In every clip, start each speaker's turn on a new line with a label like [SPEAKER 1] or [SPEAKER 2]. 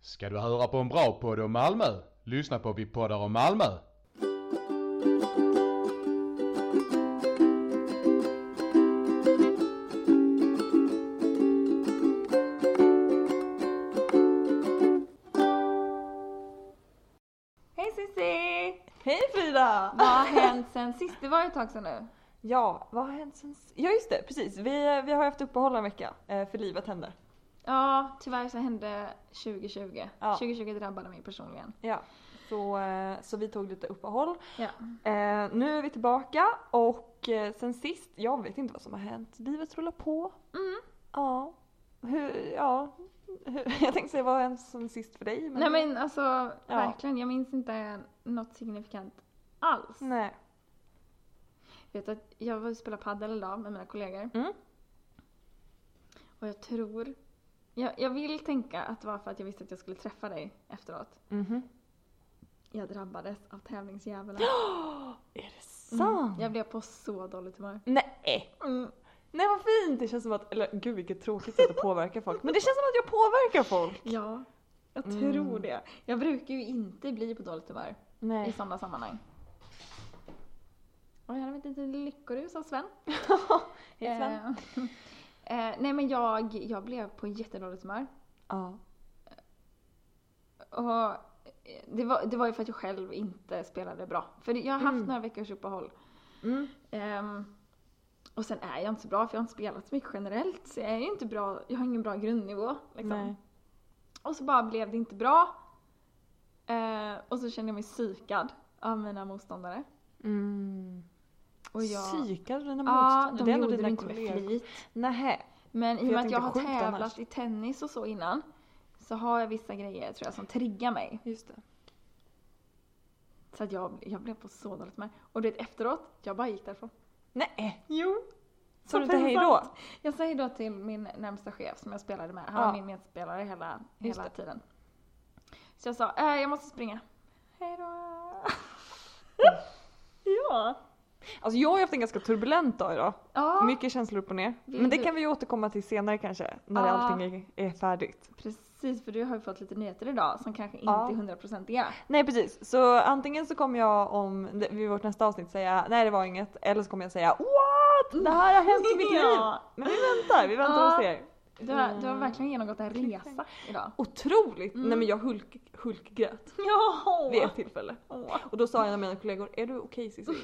[SPEAKER 1] Ska du höra på en bra podd om Malmö? Lyssna på Vi poddar om Malmö.
[SPEAKER 2] Hej Cissi!
[SPEAKER 3] Hej Frida!
[SPEAKER 2] Vad har hänt sen sist? Det var ju ett tag sedan nu.
[SPEAKER 3] Ja, vad har hänt sen... s- Ja just det, precis. Vi, vi har haft uppehåll en vecka, eh, för livet händer.
[SPEAKER 2] Ja, tyvärr så hände 2020.
[SPEAKER 3] Ja.
[SPEAKER 2] 2020 drabbade mig personligen.
[SPEAKER 3] Ja. Så, eh, så vi tog lite uppehåll.
[SPEAKER 2] Ja.
[SPEAKER 3] Eh, nu är vi tillbaka och eh, sen sist, jag vet inte vad som har hänt. Livet rullar på.
[SPEAKER 2] Mm.
[SPEAKER 3] Ja. Hur, ja. Hur, jag tänkte säga vad har hänt sen sist för dig?
[SPEAKER 2] Nej men alltså, verkligen. Jag minns inte något signifikant alls.
[SPEAKER 3] Nej.
[SPEAKER 2] Vet att jag var och spelade padel idag med mina kollegor.
[SPEAKER 3] Mm.
[SPEAKER 2] Och jag tror... Jag, jag vill tänka att det var för att jag visste att jag skulle träffa dig efteråt.
[SPEAKER 3] Mhm.
[SPEAKER 2] Jag drabbades av tävlingsdjävulen.
[SPEAKER 3] Är det sant?
[SPEAKER 2] Jag blev på så dåligt humör.
[SPEAKER 3] Nej!
[SPEAKER 2] Mm.
[SPEAKER 3] Nej vad fint! Det känns som att, eller gud vilket tråkigt sätt att påverka folk. Men det känns som att jag påverkar folk.
[SPEAKER 2] Ja, jag
[SPEAKER 3] Mm.
[SPEAKER 2] tror det. Jag brukar ju inte bli på dåligt humör i
[SPEAKER 3] Nej.
[SPEAKER 2] sådana sammanhang. Oj, här har vi ett litet lyckorus av Sven.
[SPEAKER 3] Hej Sven.
[SPEAKER 2] Eh, eh, nej men jag, jag blev på jättedåligt humör.
[SPEAKER 3] Ja.
[SPEAKER 2] Och eh, det, var, det var ju för att jag själv inte spelade bra. För jag har haft
[SPEAKER 3] Mm.
[SPEAKER 2] några veckors uppehåll.
[SPEAKER 3] Mm.
[SPEAKER 2] Ehm, och sen är jag inte så bra för jag har inte spelat så mycket generellt. Så jag är ju inte bra, jag har ingen bra grundnivå. Liksom.
[SPEAKER 3] Nej.
[SPEAKER 2] Och så bara blev det inte bra. Eh, och så kände jag mig psykad av mina motståndare.
[SPEAKER 3] Mm.
[SPEAKER 2] Och jag,
[SPEAKER 3] Psykade dina
[SPEAKER 2] Ja,
[SPEAKER 3] motståndare?
[SPEAKER 2] de
[SPEAKER 3] Det är ändå
[SPEAKER 2] gjorde det
[SPEAKER 3] dina
[SPEAKER 2] inte med
[SPEAKER 3] kollegor.
[SPEAKER 2] flit.
[SPEAKER 3] Nähä.
[SPEAKER 2] Men i
[SPEAKER 3] jag
[SPEAKER 2] och med att
[SPEAKER 3] tänkte
[SPEAKER 2] jag har
[SPEAKER 3] sjukt
[SPEAKER 2] tävlat
[SPEAKER 3] annars.
[SPEAKER 2] i tennis och så innan så har jag vissa grejer tror jag som triggar mig.
[SPEAKER 3] Just det.
[SPEAKER 2] Så att jag, jag blev på så dåligt med. Och det efteråt, jag bara gick därifrån.
[SPEAKER 3] Nej.
[SPEAKER 2] Jo.
[SPEAKER 3] Sa du inte hej då?
[SPEAKER 2] Jag säger då till min närmsta chef som jag spelade med. Han
[SPEAKER 3] Ja.
[SPEAKER 2] var min medspelare hela,
[SPEAKER 3] Just
[SPEAKER 2] hela
[SPEAKER 3] det.
[SPEAKER 2] tiden. Så jag sa, äh, jag måste springa. Hej då.
[SPEAKER 3] Mm.
[SPEAKER 2] ja.
[SPEAKER 3] Alltså jag har ju haft en ganska turbulent dag idag.
[SPEAKER 2] Ja,
[SPEAKER 3] Mycket känslor upp och ner.
[SPEAKER 2] Vill
[SPEAKER 3] Men det
[SPEAKER 2] du-
[SPEAKER 3] kan vi ju återkomma till senare kanske. När
[SPEAKER 2] Ja.
[SPEAKER 3] allting är, är färdigt.
[SPEAKER 2] precis för du har ju fått lite nyheter idag som kanske inte
[SPEAKER 3] Ja.
[SPEAKER 2] är hundraprocentiga.
[SPEAKER 3] Nej precis. Så antingen så kommer jag om det- vid vårt nästa avsnitt säga nej det var inget. Eller så kommer jag säga what? Det här har hänt i mitt liv.
[SPEAKER 2] Ja.
[SPEAKER 3] Men vi väntar, vi väntar
[SPEAKER 2] Ja.
[SPEAKER 3] och ser.
[SPEAKER 2] Du har, du har verkligen genomgått en resa idag.
[SPEAKER 3] Otroligt!
[SPEAKER 2] Mm.
[SPEAKER 3] Nej men jag hulk, hulkgrät
[SPEAKER 2] Ja!
[SPEAKER 3] vid ett tillfälle.
[SPEAKER 2] Åh.
[SPEAKER 3] Och då sa en av mina kollegor, är du okej Cissi?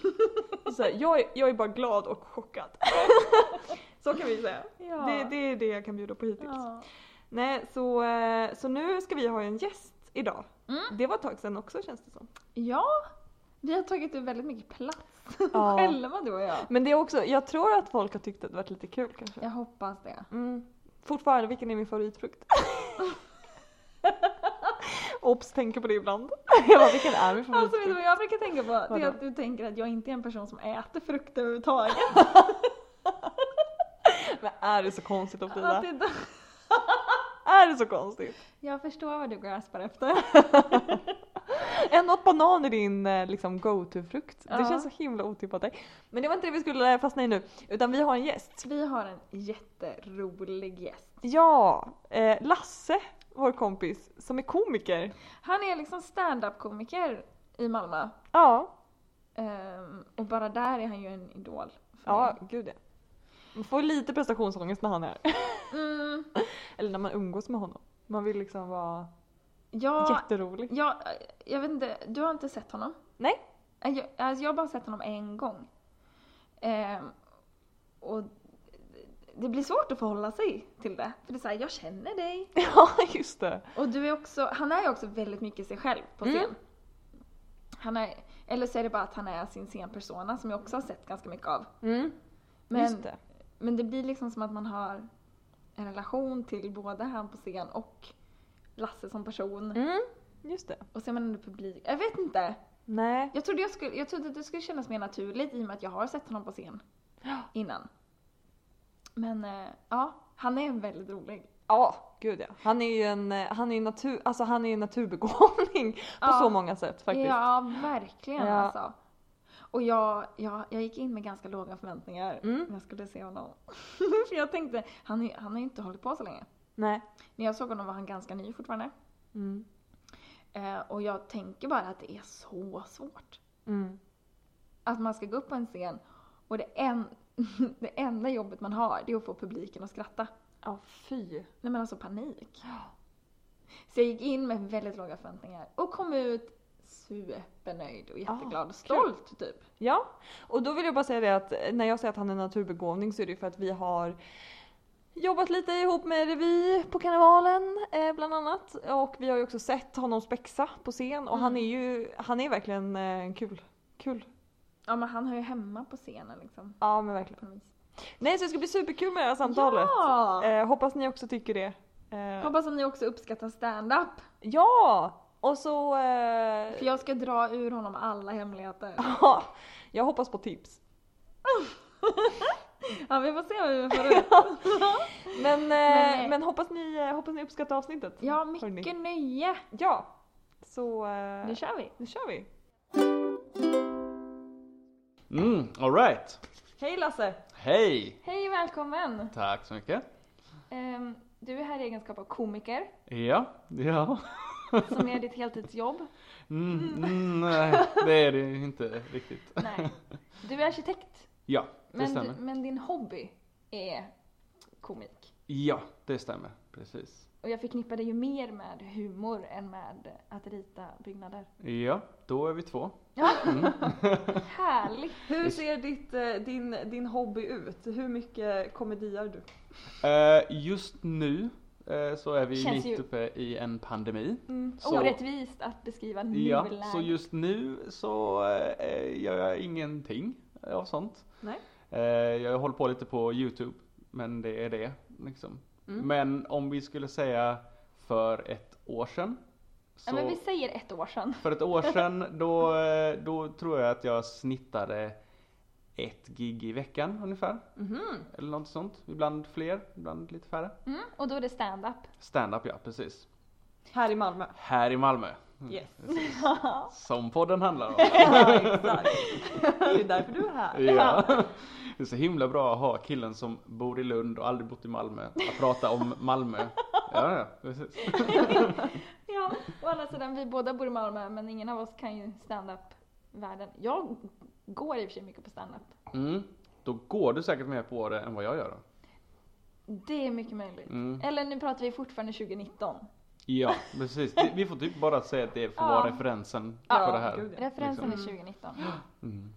[SPEAKER 3] Så här, jag, är- jag är bara glad och chockad. så kan vi säga.
[SPEAKER 2] Ja.
[SPEAKER 3] Det, det är det jag kan bjuda på hittills.
[SPEAKER 2] Ja.
[SPEAKER 3] Nej, så, eh, så nu ska vi ha en gäst idag.
[SPEAKER 2] Mm.
[SPEAKER 3] Det var ett tag sedan också känns det som.
[SPEAKER 2] ja, vi har tagit upp väldigt mycket plats
[SPEAKER 3] Ja.
[SPEAKER 2] själva du och jag.
[SPEAKER 3] Men det är också, jag tror att folk har tyckt att det varit lite kul kanske.
[SPEAKER 2] Jag hoppas det.
[SPEAKER 3] Mm. Fortfarande, vilken är min favoritfrukt? Obs, tänker på det ibland. jag bara, vilken är min
[SPEAKER 2] Alltså vet
[SPEAKER 3] favoritfrukt?
[SPEAKER 2] du vad jag brukar tänka på? Det
[SPEAKER 3] Vadå?
[SPEAKER 2] är att du tänker att jag inte är en person som äter frukt överhuvudtaget.
[SPEAKER 3] Men är det så konstigt av
[SPEAKER 2] Att
[SPEAKER 3] Frida?
[SPEAKER 2] det är då-
[SPEAKER 3] Är det så konstigt?
[SPEAKER 2] jag förstår vad du graspar efter.
[SPEAKER 3] Ändå att banan är din eh, liksom, go-to-frukt. Det
[SPEAKER 2] Ja.
[SPEAKER 3] känns så himla otippat dig. Men det var inte det vi skulle eh, fastna i nu, utan vi har en gäst.
[SPEAKER 2] Vi har en jätterolig gäst.
[SPEAKER 3] Ja, eh, Lasse, vår kompis, som är komiker.
[SPEAKER 2] Han är liksom stand-up-komiker i Malmö.
[SPEAKER 3] Ja,
[SPEAKER 2] Ehm, och bara där är han ju en idol. för
[SPEAKER 3] ja
[SPEAKER 2] mig.
[SPEAKER 3] gud ja. Man får lite prestationsångest när han är
[SPEAKER 2] Mm,
[SPEAKER 3] Eller när man umgås med honom. Man vill liksom vara
[SPEAKER 2] ja,
[SPEAKER 3] jätterolig.
[SPEAKER 2] Ja, jag vet inte, du har inte sett honom?
[SPEAKER 3] Nej.
[SPEAKER 2] Nej, Jag, alltså jag har bara sett honom en gång. Ehm, och det blir svårt att förhålla sig till det. För det är såhär, jag känner dig.
[SPEAKER 3] Ja, just det.
[SPEAKER 2] Och du är också, han är ju också väldigt mycket sig själv på scen.
[SPEAKER 3] Mm.
[SPEAKER 2] Han är, eller så är det bara att han är sin scenpersona som jag också har sett ganska mycket av.
[SPEAKER 3] Mm,
[SPEAKER 2] Men,
[SPEAKER 3] just det.
[SPEAKER 2] men det blir liksom som att man har en relation till både han på scen och Lasse som person.
[SPEAKER 3] Mm, just det.
[SPEAKER 2] Och så är man ändå publik. Jag vet inte.
[SPEAKER 3] Nej.
[SPEAKER 2] Jag trodde, jag, skulle, jag trodde att det skulle kännas mer naturligt i och med att jag har sett honom på scen innan. Men eh, ja, han är väldigt rolig.
[SPEAKER 3] Ja, gud ja. Han är ju en, eh, han är ju natur, alltså han är ju en naturbegåvning på
[SPEAKER 2] Ja.
[SPEAKER 3] så många sätt faktiskt.
[SPEAKER 2] Ja, verkligen
[SPEAKER 3] Ja.
[SPEAKER 2] alltså. Och jag, jag, jag gick in med ganska låga förväntningar
[SPEAKER 3] Mm.
[SPEAKER 2] när jag skulle se honom. För jag tänkte, han, är- han har ju inte hållit på så länge.
[SPEAKER 3] Nej.
[SPEAKER 2] När jag såg honom var han ganska ny fortfarande.
[SPEAKER 3] Mm.
[SPEAKER 2] Eh, och jag tänker bara att det är så svårt.
[SPEAKER 3] Mm.
[SPEAKER 2] Att man ska gå upp på en scen och det, en, det enda jobbet man har det är att få publiken att skratta.
[SPEAKER 3] Ja, fy.
[SPEAKER 2] Nej men alltså panik. Så jag gick in med väldigt låga förväntningar och kom ut supernöjd och
[SPEAKER 3] Ah,
[SPEAKER 2] jätteglad och stolt typ.
[SPEAKER 3] Ja, och då vill jag bara säga det att eh, när jag säger att han är en naturbegåvning så är det ju för att vi har jobbat lite ihop med revy på karnevalen eh, bland annat. Och vi har ju också sett honom spexa på scen och
[SPEAKER 2] Mm.
[SPEAKER 3] han är ju, han är verkligen eh, kul. Kul.
[SPEAKER 2] Ja men han hör ju hemma på scenen liksom.
[SPEAKER 3] Ja men verkligen.
[SPEAKER 2] På något vis.
[SPEAKER 3] Nej så det ska bli superkul med det här samtalet.
[SPEAKER 2] Ja!
[SPEAKER 3] Eh, hoppas ni också tycker det. Eh,
[SPEAKER 2] Hoppas att ni också uppskattar stand-up.
[SPEAKER 3] ja! Och så... Eh,
[SPEAKER 2] För jag ska dra ur honom alla hemligheter.
[SPEAKER 3] ja, jag hoppas på tips.
[SPEAKER 2] Ja vi får se hur vi får ut.
[SPEAKER 3] Men, eh,
[SPEAKER 2] Nej.
[SPEAKER 3] men hoppas, ni, eh, hoppas ni uppskattar avsnittet.
[SPEAKER 2] Ja
[SPEAKER 3] Hörni.
[SPEAKER 2] mycket nöje.
[SPEAKER 3] Ja! Så... eh,
[SPEAKER 2] Nu kör vi.
[SPEAKER 3] Nu kör vi!
[SPEAKER 4] Mm, alright.
[SPEAKER 3] Hej Lasse!
[SPEAKER 4] Hej!
[SPEAKER 2] Hej välkommen.
[SPEAKER 4] Tack så mycket.
[SPEAKER 2] Ehm, du är här i egenskap av komiker
[SPEAKER 4] Ja, ja.
[SPEAKER 2] som är ditt heltidsjobb.
[SPEAKER 4] Mm, mm, nej, det är det ju inte riktigt.
[SPEAKER 2] Nej. Du är arkitekt.
[SPEAKER 4] Ja, det
[SPEAKER 2] Men,
[SPEAKER 4] stämmer.
[SPEAKER 2] du, men din hobby är komik.
[SPEAKER 4] Ja, det stämmer. Precis.
[SPEAKER 2] Och jag förknippar det ju mer med humor än med att rita byggnader.
[SPEAKER 4] Ja, då är vi två.
[SPEAKER 2] Härligt!
[SPEAKER 3] Hur ser ditt, eh, din, din hobby ut? Hur mycket komediar du?
[SPEAKER 4] Eh, just nu eh, så är vi
[SPEAKER 2] Känns
[SPEAKER 4] mitt
[SPEAKER 2] ju-
[SPEAKER 4] uppe i en pandemi. Så-
[SPEAKER 2] Mm, Orättvist att beskriva
[SPEAKER 4] Ja,
[SPEAKER 2] nuläget.
[SPEAKER 4] så just nu så eh, gör jag ingenting av sånt.
[SPEAKER 3] Nej.
[SPEAKER 4] Eh, jag håller på lite på Youtube, men det är det. Liksom.
[SPEAKER 3] Mm.
[SPEAKER 4] Men om vi skulle säga för ett år sedan.
[SPEAKER 2] ja,
[SPEAKER 4] Så
[SPEAKER 2] men vi säger ett år sedan.
[SPEAKER 4] För ett år sedan då, eh, då tror jag att jag snittade ett gig i veckan ungefär. Eller något sånt. Ibland fler, ibland lite färre.
[SPEAKER 2] Mm, och då är det stand-up.
[SPEAKER 4] Stand-up ja, precis.
[SPEAKER 3] Här i Malmö?
[SPEAKER 4] Här i Malmö.
[SPEAKER 3] Yes.
[SPEAKER 4] Som podden handlar om.
[SPEAKER 3] ja, exakt. Det är därför du är här.
[SPEAKER 4] Ja. Det är så himla bra att ha killen som bor i Lund och aldrig bott i Malmö att prata om Malmö. Ja, ja, precis.
[SPEAKER 2] Ja, å andra sidan, vi båda bor i Malmö men ingen av oss kan ju stand-up-världen. Jag går i och för sig mycket på stand-up.
[SPEAKER 4] Mm. Då går du säkert mer på det än vad jag gör då.
[SPEAKER 2] Det är mycket möjligt.
[SPEAKER 4] Mm.
[SPEAKER 2] Eller nu pratar vi fortfarande 2019.
[SPEAKER 4] Ja, precis. Det- Vi får typ bara säga att det får vara
[SPEAKER 2] Ja.
[SPEAKER 4] referensen
[SPEAKER 3] Ja,
[SPEAKER 4] på det här.
[SPEAKER 3] gud, ja.
[SPEAKER 2] Referensen
[SPEAKER 4] Liksom.
[SPEAKER 2] är 2019.
[SPEAKER 4] Mm.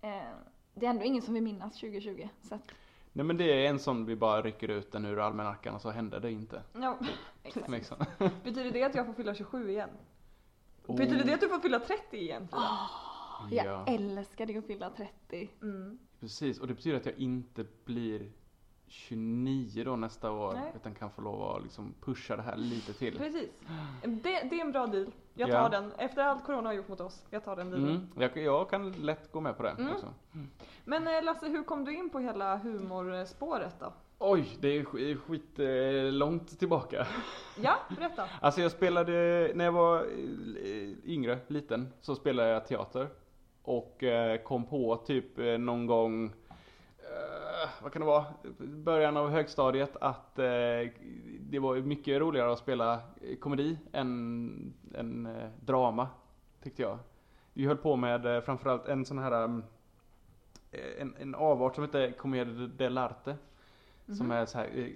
[SPEAKER 2] Eh, det är ändå ingen som vill minnas 2020. Så
[SPEAKER 4] Typ.
[SPEAKER 2] att,
[SPEAKER 4] Nej men det är en sån vi bara rycker ut den ur almanackan och så hände det inte.
[SPEAKER 3] Ja.
[SPEAKER 2] exakt.
[SPEAKER 4] Liksom.
[SPEAKER 3] Betyder det att jag får fylla 27 igen?
[SPEAKER 4] Oh.
[SPEAKER 3] Betyder det att du får fylla 30 igen?
[SPEAKER 2] Jag
[SPEAKER 4] Ja,
[SPEAKER 2] älskar det att fylla 30.
[SPEAKER 3] Mm.
[SPEAKER 4] precis. Och det betyder att jag inte blir 29 då nästa år.
[SPEAKER 3] Nej.
[SPEAKER 4] Utan kan få lov att liksom pusha det här lite till.
[SPEAKER 3] Precis. Det, det är en bra deal. Jag tar
[SPEAKER 4] Ja.
[SPEAKER 3] den. Efter allt corona har gjort mot oss. Jag tar den dealen.
[SPEAKER 4] Mm. Jag, jag kan lätt gå med på det
[SPEAKER 3] Mm.
[SPEAKER 4] också.
[SPEAKER 3] Men eh, Lasse, hur kom du in på hela humorspåret då?
[SPEAKER 4] Oj, det är sk- skit eh, långt tillbaka.
[SPEAKER 3] Ja, berätta.
[SPEAKER 4] Alltså jag spelade, när jag var eh, yngre, liten, så spelade jag teater. Och eh, kom på typ eh, någon gång, eh, vad kan det vara, början av högstadiet att eh, det var ju mycket roligare att spela eh, komedi än, än eh, drama, tyckte jag. Vi höll på med eh, framförallt en sån här, um, eh, en, en avart som heter Commedia dell'arte. Som är så här, eh,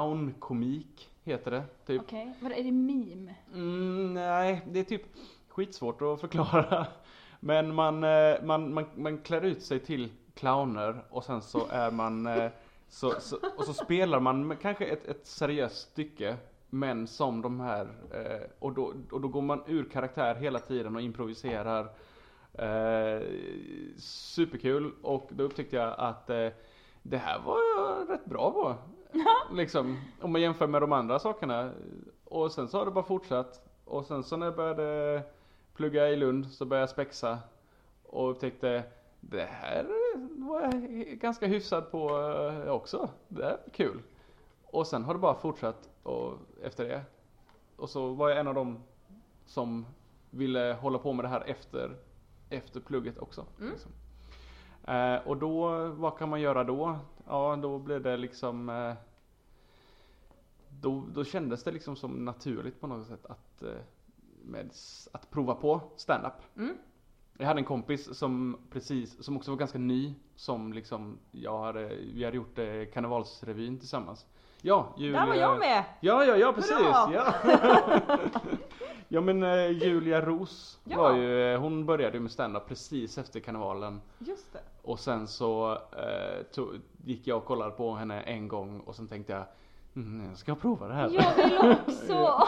[SPEAKER 4] clownkomik heter det, typ.
[SPEAKER 2] Okej, vadå är det meme?
[SPEAKER 4] Mm, nej, det är typ skitsvårt att förklara. Men man, eh, man, man, man klär ut sig till clowner och sen så är man eh, så, så, och så spelar man med kanske ett, ett seriöst stycke men som de här eh, och, då, och då går man ur karaktär hela tiden och improviserar. Eh, superkul och då upptäckte jag att eh, det här var jag rätt bra på. liksom, om man jämför med de andra sakerna. Och sen så har det bara fortsatt. Och sen så när jag började plugga i Lund så började jag spexa. Och upptäckte det här var jag ganska hyfsad på eh, också. Det här är kul. Och sen har det bara fortsatt och efter det. Och så var jag en av dem som ville hålla på med det här efter, efter plugget också. Liksom. Eh, och då, vad kan man göra då? Ja, då blev det liksom eh, då, då kändes det liksom som naturligt på något sätt att, eh, med, s- att prova på stand-up.
[SPEAKER 3] Mm.
[SPEAKER 4] Jag hade en kompis som precis, som också var ganska ny, som liksom, jag hade, vi hade gjort eh, karnevalsrevyn tillsammans. Ja, jul,
[SPEAKER 3] Där var
[SPEAKER 4] eh,
[SPEAKER 3] jag med!
[SPEAKER 4] Ja, ja, ja precis!
[SPEAKER 3] Hurra!
[SPEAKER 4] Ja. ja men eh, Julia Roos
[SPEAKER 3] Ja.
[SPEAKER 4] var ju, eh, hon började ju med stand-up precis efter karnevalen.
[SPEAKER 3] Just det.
[SPEAKER 4] Och sen så eh, to- gick jag och kollade på henne en gång och sen tänkte jag mm, jag ska prova det här.
[SPEAKER 2] Jag vill också!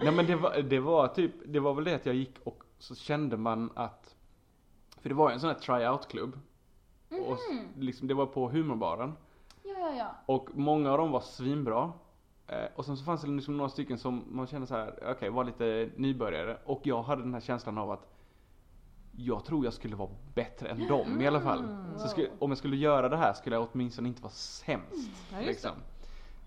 [SPEAKER 4] Nej men det var, det var typ, det var väl det att jag gick och så kände man att För det var ju en sån här tryout-klubb Och s- liksom, det var på humorbaren
[SPEAKER 2] Mhm. Ja, ja, ja.
[SPEAKER 4] Och många av dem var svinbra eh, Och sen så fanns det liksom några stycken som man kände så här, okej var lite nybörjare Och jag hade den här känslan av att Jag tror jag skulle vara bättre än dem i alla fall så skulle, Om jag skulle göra det här skulle jag åtminstone inte vara sämst
[SPEAKER 3] Ja, just det.
[SPEAKER 4] liksom.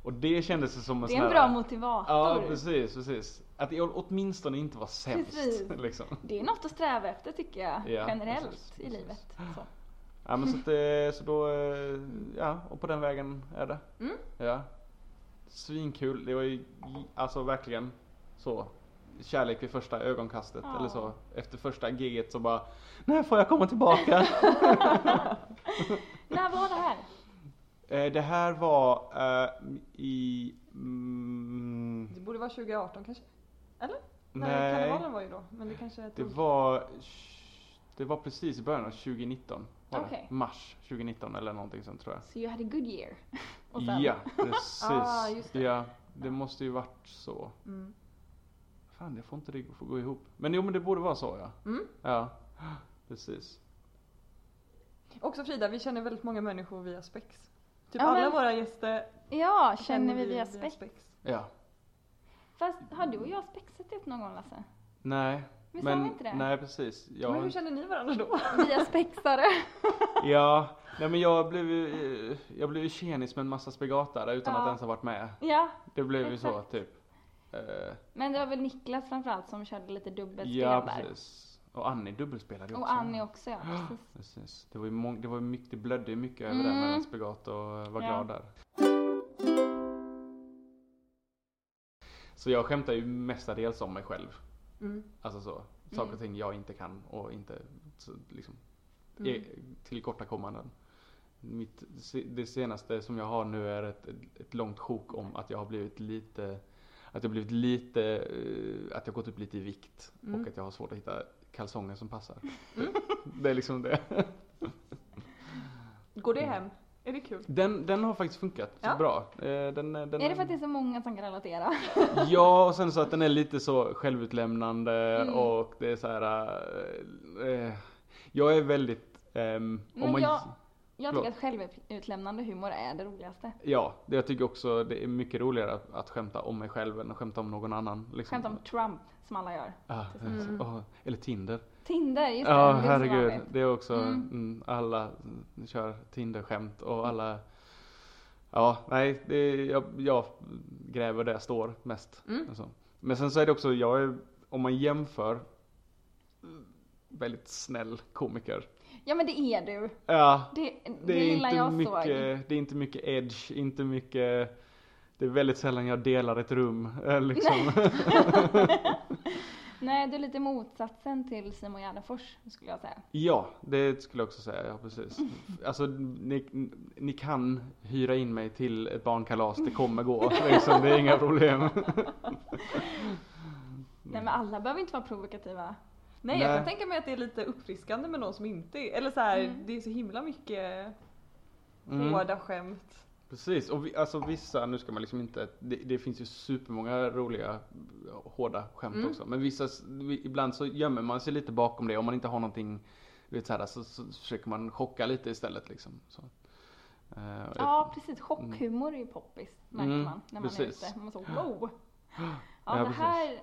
[SPEAKER 4] Och det kändes ju som en
[SPEAKER 2] Det
[SPEAKER 4] sån
[SPEAKER 2] är en
[SPEAKER 4] här-
[SPEAKER 2] bra motivator.
[SPEAKER 4] Ja precis, precis. Att det åtminstone inte var sämst.
[SPEAKER 2] Precis.
[SPEAKER 4] Liksom.
[SPEAKER 2] Det är något att sträva efter tycker jag,
[SPEAKER 4] Ja,
[SPEAKER 2] generellt
[SPEAKER 4] precis,
[SPEAKER 2] i
[SPEAKER 4] precis.
[SPEAKER 2] livet. Så.
[SPEAKER 4] Ja men så, att, eh, så då, eh, ja och på den vägen är det.
[SPEAKER 3] Mm.
[SPEAKER 4] Ja. Svinkul, det var ju alltså verkligen så kärlek vid första ögonkastet
[SPEAKER 2] Ja.
[SPEAKER 4] eller så. Efter första giget så bara, när får jag komma tillbaka?
[SPEAKER 2] När var det här?
[SPEAKER 4] eh, det här var eh, i, mm,
[SPEAKER 3] Det borde vara 2018 kanske? Nej,
[SPEAKER 4] nej,
[SPEAKER 3] karnevalen var ju då. Men det kanske
[SPEAKER 4] det
[SPEAKER 3] tog...
[SPEAKER 2] Mm.
[SPEAKER 4] var, det var precis i början av 2019. var det.
[SPEAKER 2] Okej.
[SPEAKER 4] Mars 2019 eller någonting sånt tror jag.
[SPEAKER 2] So you had a good year. Och sen,
[SPEAKER 4] Ja, precis.
[SPEAKER 3] Ah, just det.
[SPEAKER 4] Ja, det måste ju varit så.
[SPEAKER 3] Mm.
[SPEAKER 4] Fan, jag får inte det att få gå ihop. Men jo, men det borde vara så ja.
[SPEAKER 3] Mm.
[SPEAKER 4] Ja, precis.
[SPEAKER 3] Också Frida, vi känner väldigt många människor via spex.
[SPEAKER 2] Ja,
[SPEAKER 3] Typ alla
[SPEAKER 2] men-
[SPEAKER 3] våra gäster
[SPEAKER 2] Ja, känner vi via spex.
[SPEAKER 4] Ja.
[SPEAKER 2] Fast har du och jag spexat ihop någon gång Lasse?
[SPEAKER 4] Nej.
[SPEAKER 2] Visst har vi inte det?
[SPEAKER 4] Nej, precis. Jag,
[SPEAKER 3] Men hur känner ni varandra då?
[SPEAKER 2] Via spexare.
[SPEAKER 4] ja, nej men jag blev ju, eh, jag blev ju tjenis med en massa spegatare utan
[SPEAKER 2] Ja.
[SPEAKER 4] att ens ha varit med.
[SPEAKER 2] ja,
[SPEAKER 4] Det blev ju så
[SPEAKER 2] Exakt.
[SPEAKER 4] typ. Eh,
[SPEAKER 2] men det var väl Niklas framförallt som körde lite dubbelspel
[SPEAKER 4] ja,
[SPEAKER 2] där.
[SPEAKER 4] precis. Och Annie dubbelspelade ju också.
[SPEAKER 2] Och Annie också ja, precis.
[SPEAKER 4] Precis. Det var ju mång- det var ju mycket, det blödde ju mycket över det
[SPEAKER 2] Mm.
[SPEAKER 4] mellan Spagat och eh, var
[SPEAKER 2] Ja.
[SPEAKER 4] glad där. Så jag skämtar ju mestadels om mig själv.
[SPEAKER 3] Mm.
[SPEAKER 4] Alltså så. Saker
[SPEAKER 2] Mm.
[SPEAKER 4] och ting jag inte kan och inte så, liksom, mm. tillkortakommanden. Mitt, se- det senaste som jag har nu är ett, ett långt sjok om att jag har blivit lite att jag blivit lite, eh, att jag gått upp lite i vikt
[SPEAKER 2] Mm.
[SPEAKER 4] och att jag har svårt att hitta kalsonger som passar. Det är liksom det.
[SPEAKER 3] Går det hem? Är det kul?
[SPEAKER 4] Den, den har faktiskt funkat
[SPEAKER 3] Ja.
[SPEAKER 4] bra. Eh, Den, den,
[SPEAKER 2] Är det för att det är så många som kan relatera?
[SPEAKER 4] Ja, och sen så att den är lite så självutlämnande
[SPEAKER 2] Mm.
[SPEAKER 4] och det är så här. eh, eh, jag är väldigt... ehm,
[SPEAKER 2] Men jag- Jag tycker
[SPEAKER 4] Förlåt.
[SPEAKER 2] att självutlämnande humor är det roligaste.
[SPEAKER 4] Ja, det, jag tycker också det är mycket roligare att, att skämta om mig själv än att skämta om någon annan. Liksom.
[SPEAKER 2] Skämt om Trump som alla gör.
[SPEAKER 4] Ah,
[SPEAKER 3] Mm.
[SPEAKER 4] åh, eller Tinder.
[SPEAKER 2] Tinder, just det.
[SPEAKER 4] Ja,
[SPEAKER 2] det är så
[SPEAKER 4] herregud.
[SPEAKER 2] vanligt.
[SPEAKER 4] Det är också,
[SPEAKER 2] Mm.
[SPEAKER 4] mm. alla mm, kör Tinder-skämt och alla Ja, nej, det är, jag, jag gräver där jag står mest.
[SPEAKER 3] Mm.
[SPEAKER 4] Alltså. Men sen så är det också, jag är, om man jämför, väldigt snäll komiker.
[SPEAKER 2] Ja men det är du.
[SPEAKER 4] Ja,
[SPEAKER 2] Det, det,
[SPEAKER 4] det är,
[SPEAKER 2] lilla
[SPEAKER 4] inte
[SPEAKER 2] jag
[SPEAKER 4] mycket,
[SPEAKER 2] såg.
[SPEAKER 4] det är inte mycket edge, inte mycket, det är väldigt sällan jag delar ett rum. eh, Liksom.
[SPEAKER 2] Nej, du är lite motsatsen till Simon Gärdenfors skulle jag säga.
[SPEAKER 4] Ja, det skulle jag också säga, ja precis.
[SPEAKER 2] Mm.
[SPEAKER 4] Alltså, ni, ni kan hyra in mig till ett barnkalas, det kommer gå. Liksom, det är inga problem.
[SPEAKER 2] Nej men alltså, alla behöver inte vara provokativa.
[SPEAKER 3] Nej, jag kan
[SPEAKER 4] Nej.
[SPEAKER 3] tänka mig att det är lite uppfriskande med någon som inte är... Eller så här,
[SPEAKER 2] Mm.
[SPEAKER 3] det är så himla mycket
[SPEAKER 4] Mm.
[SPEAKER 3] hårda skämt.
[SPEAKER 4] Precis, och vi, alltså vissa, nu ska man liksom inte, det, det finns ju supermånga roliga hårda skämt
[SPEAKER 3] Mm.
[SPEAKER 4] också. Men vissa, s- vi- ibland så gömmer man sig lite bakom det om man inte har någonting, du vet så, här, så, så försöker man chocka lite istället liksom. Så. Eh, och
[SPEAKER 2] Ja precis, chockhumor är ju poppis märker
[SPEAKER 4] Mm,
[SPEAKER 2] man när man
[SPEAKER 4] precis.
[SPEAKER 2] är ute. Man så wow! Ja,
[SPEAKER 4] Ja,
[SPEAKER 2] det,
[SPEAKER 4] precis.
[SPEAKER 2] här,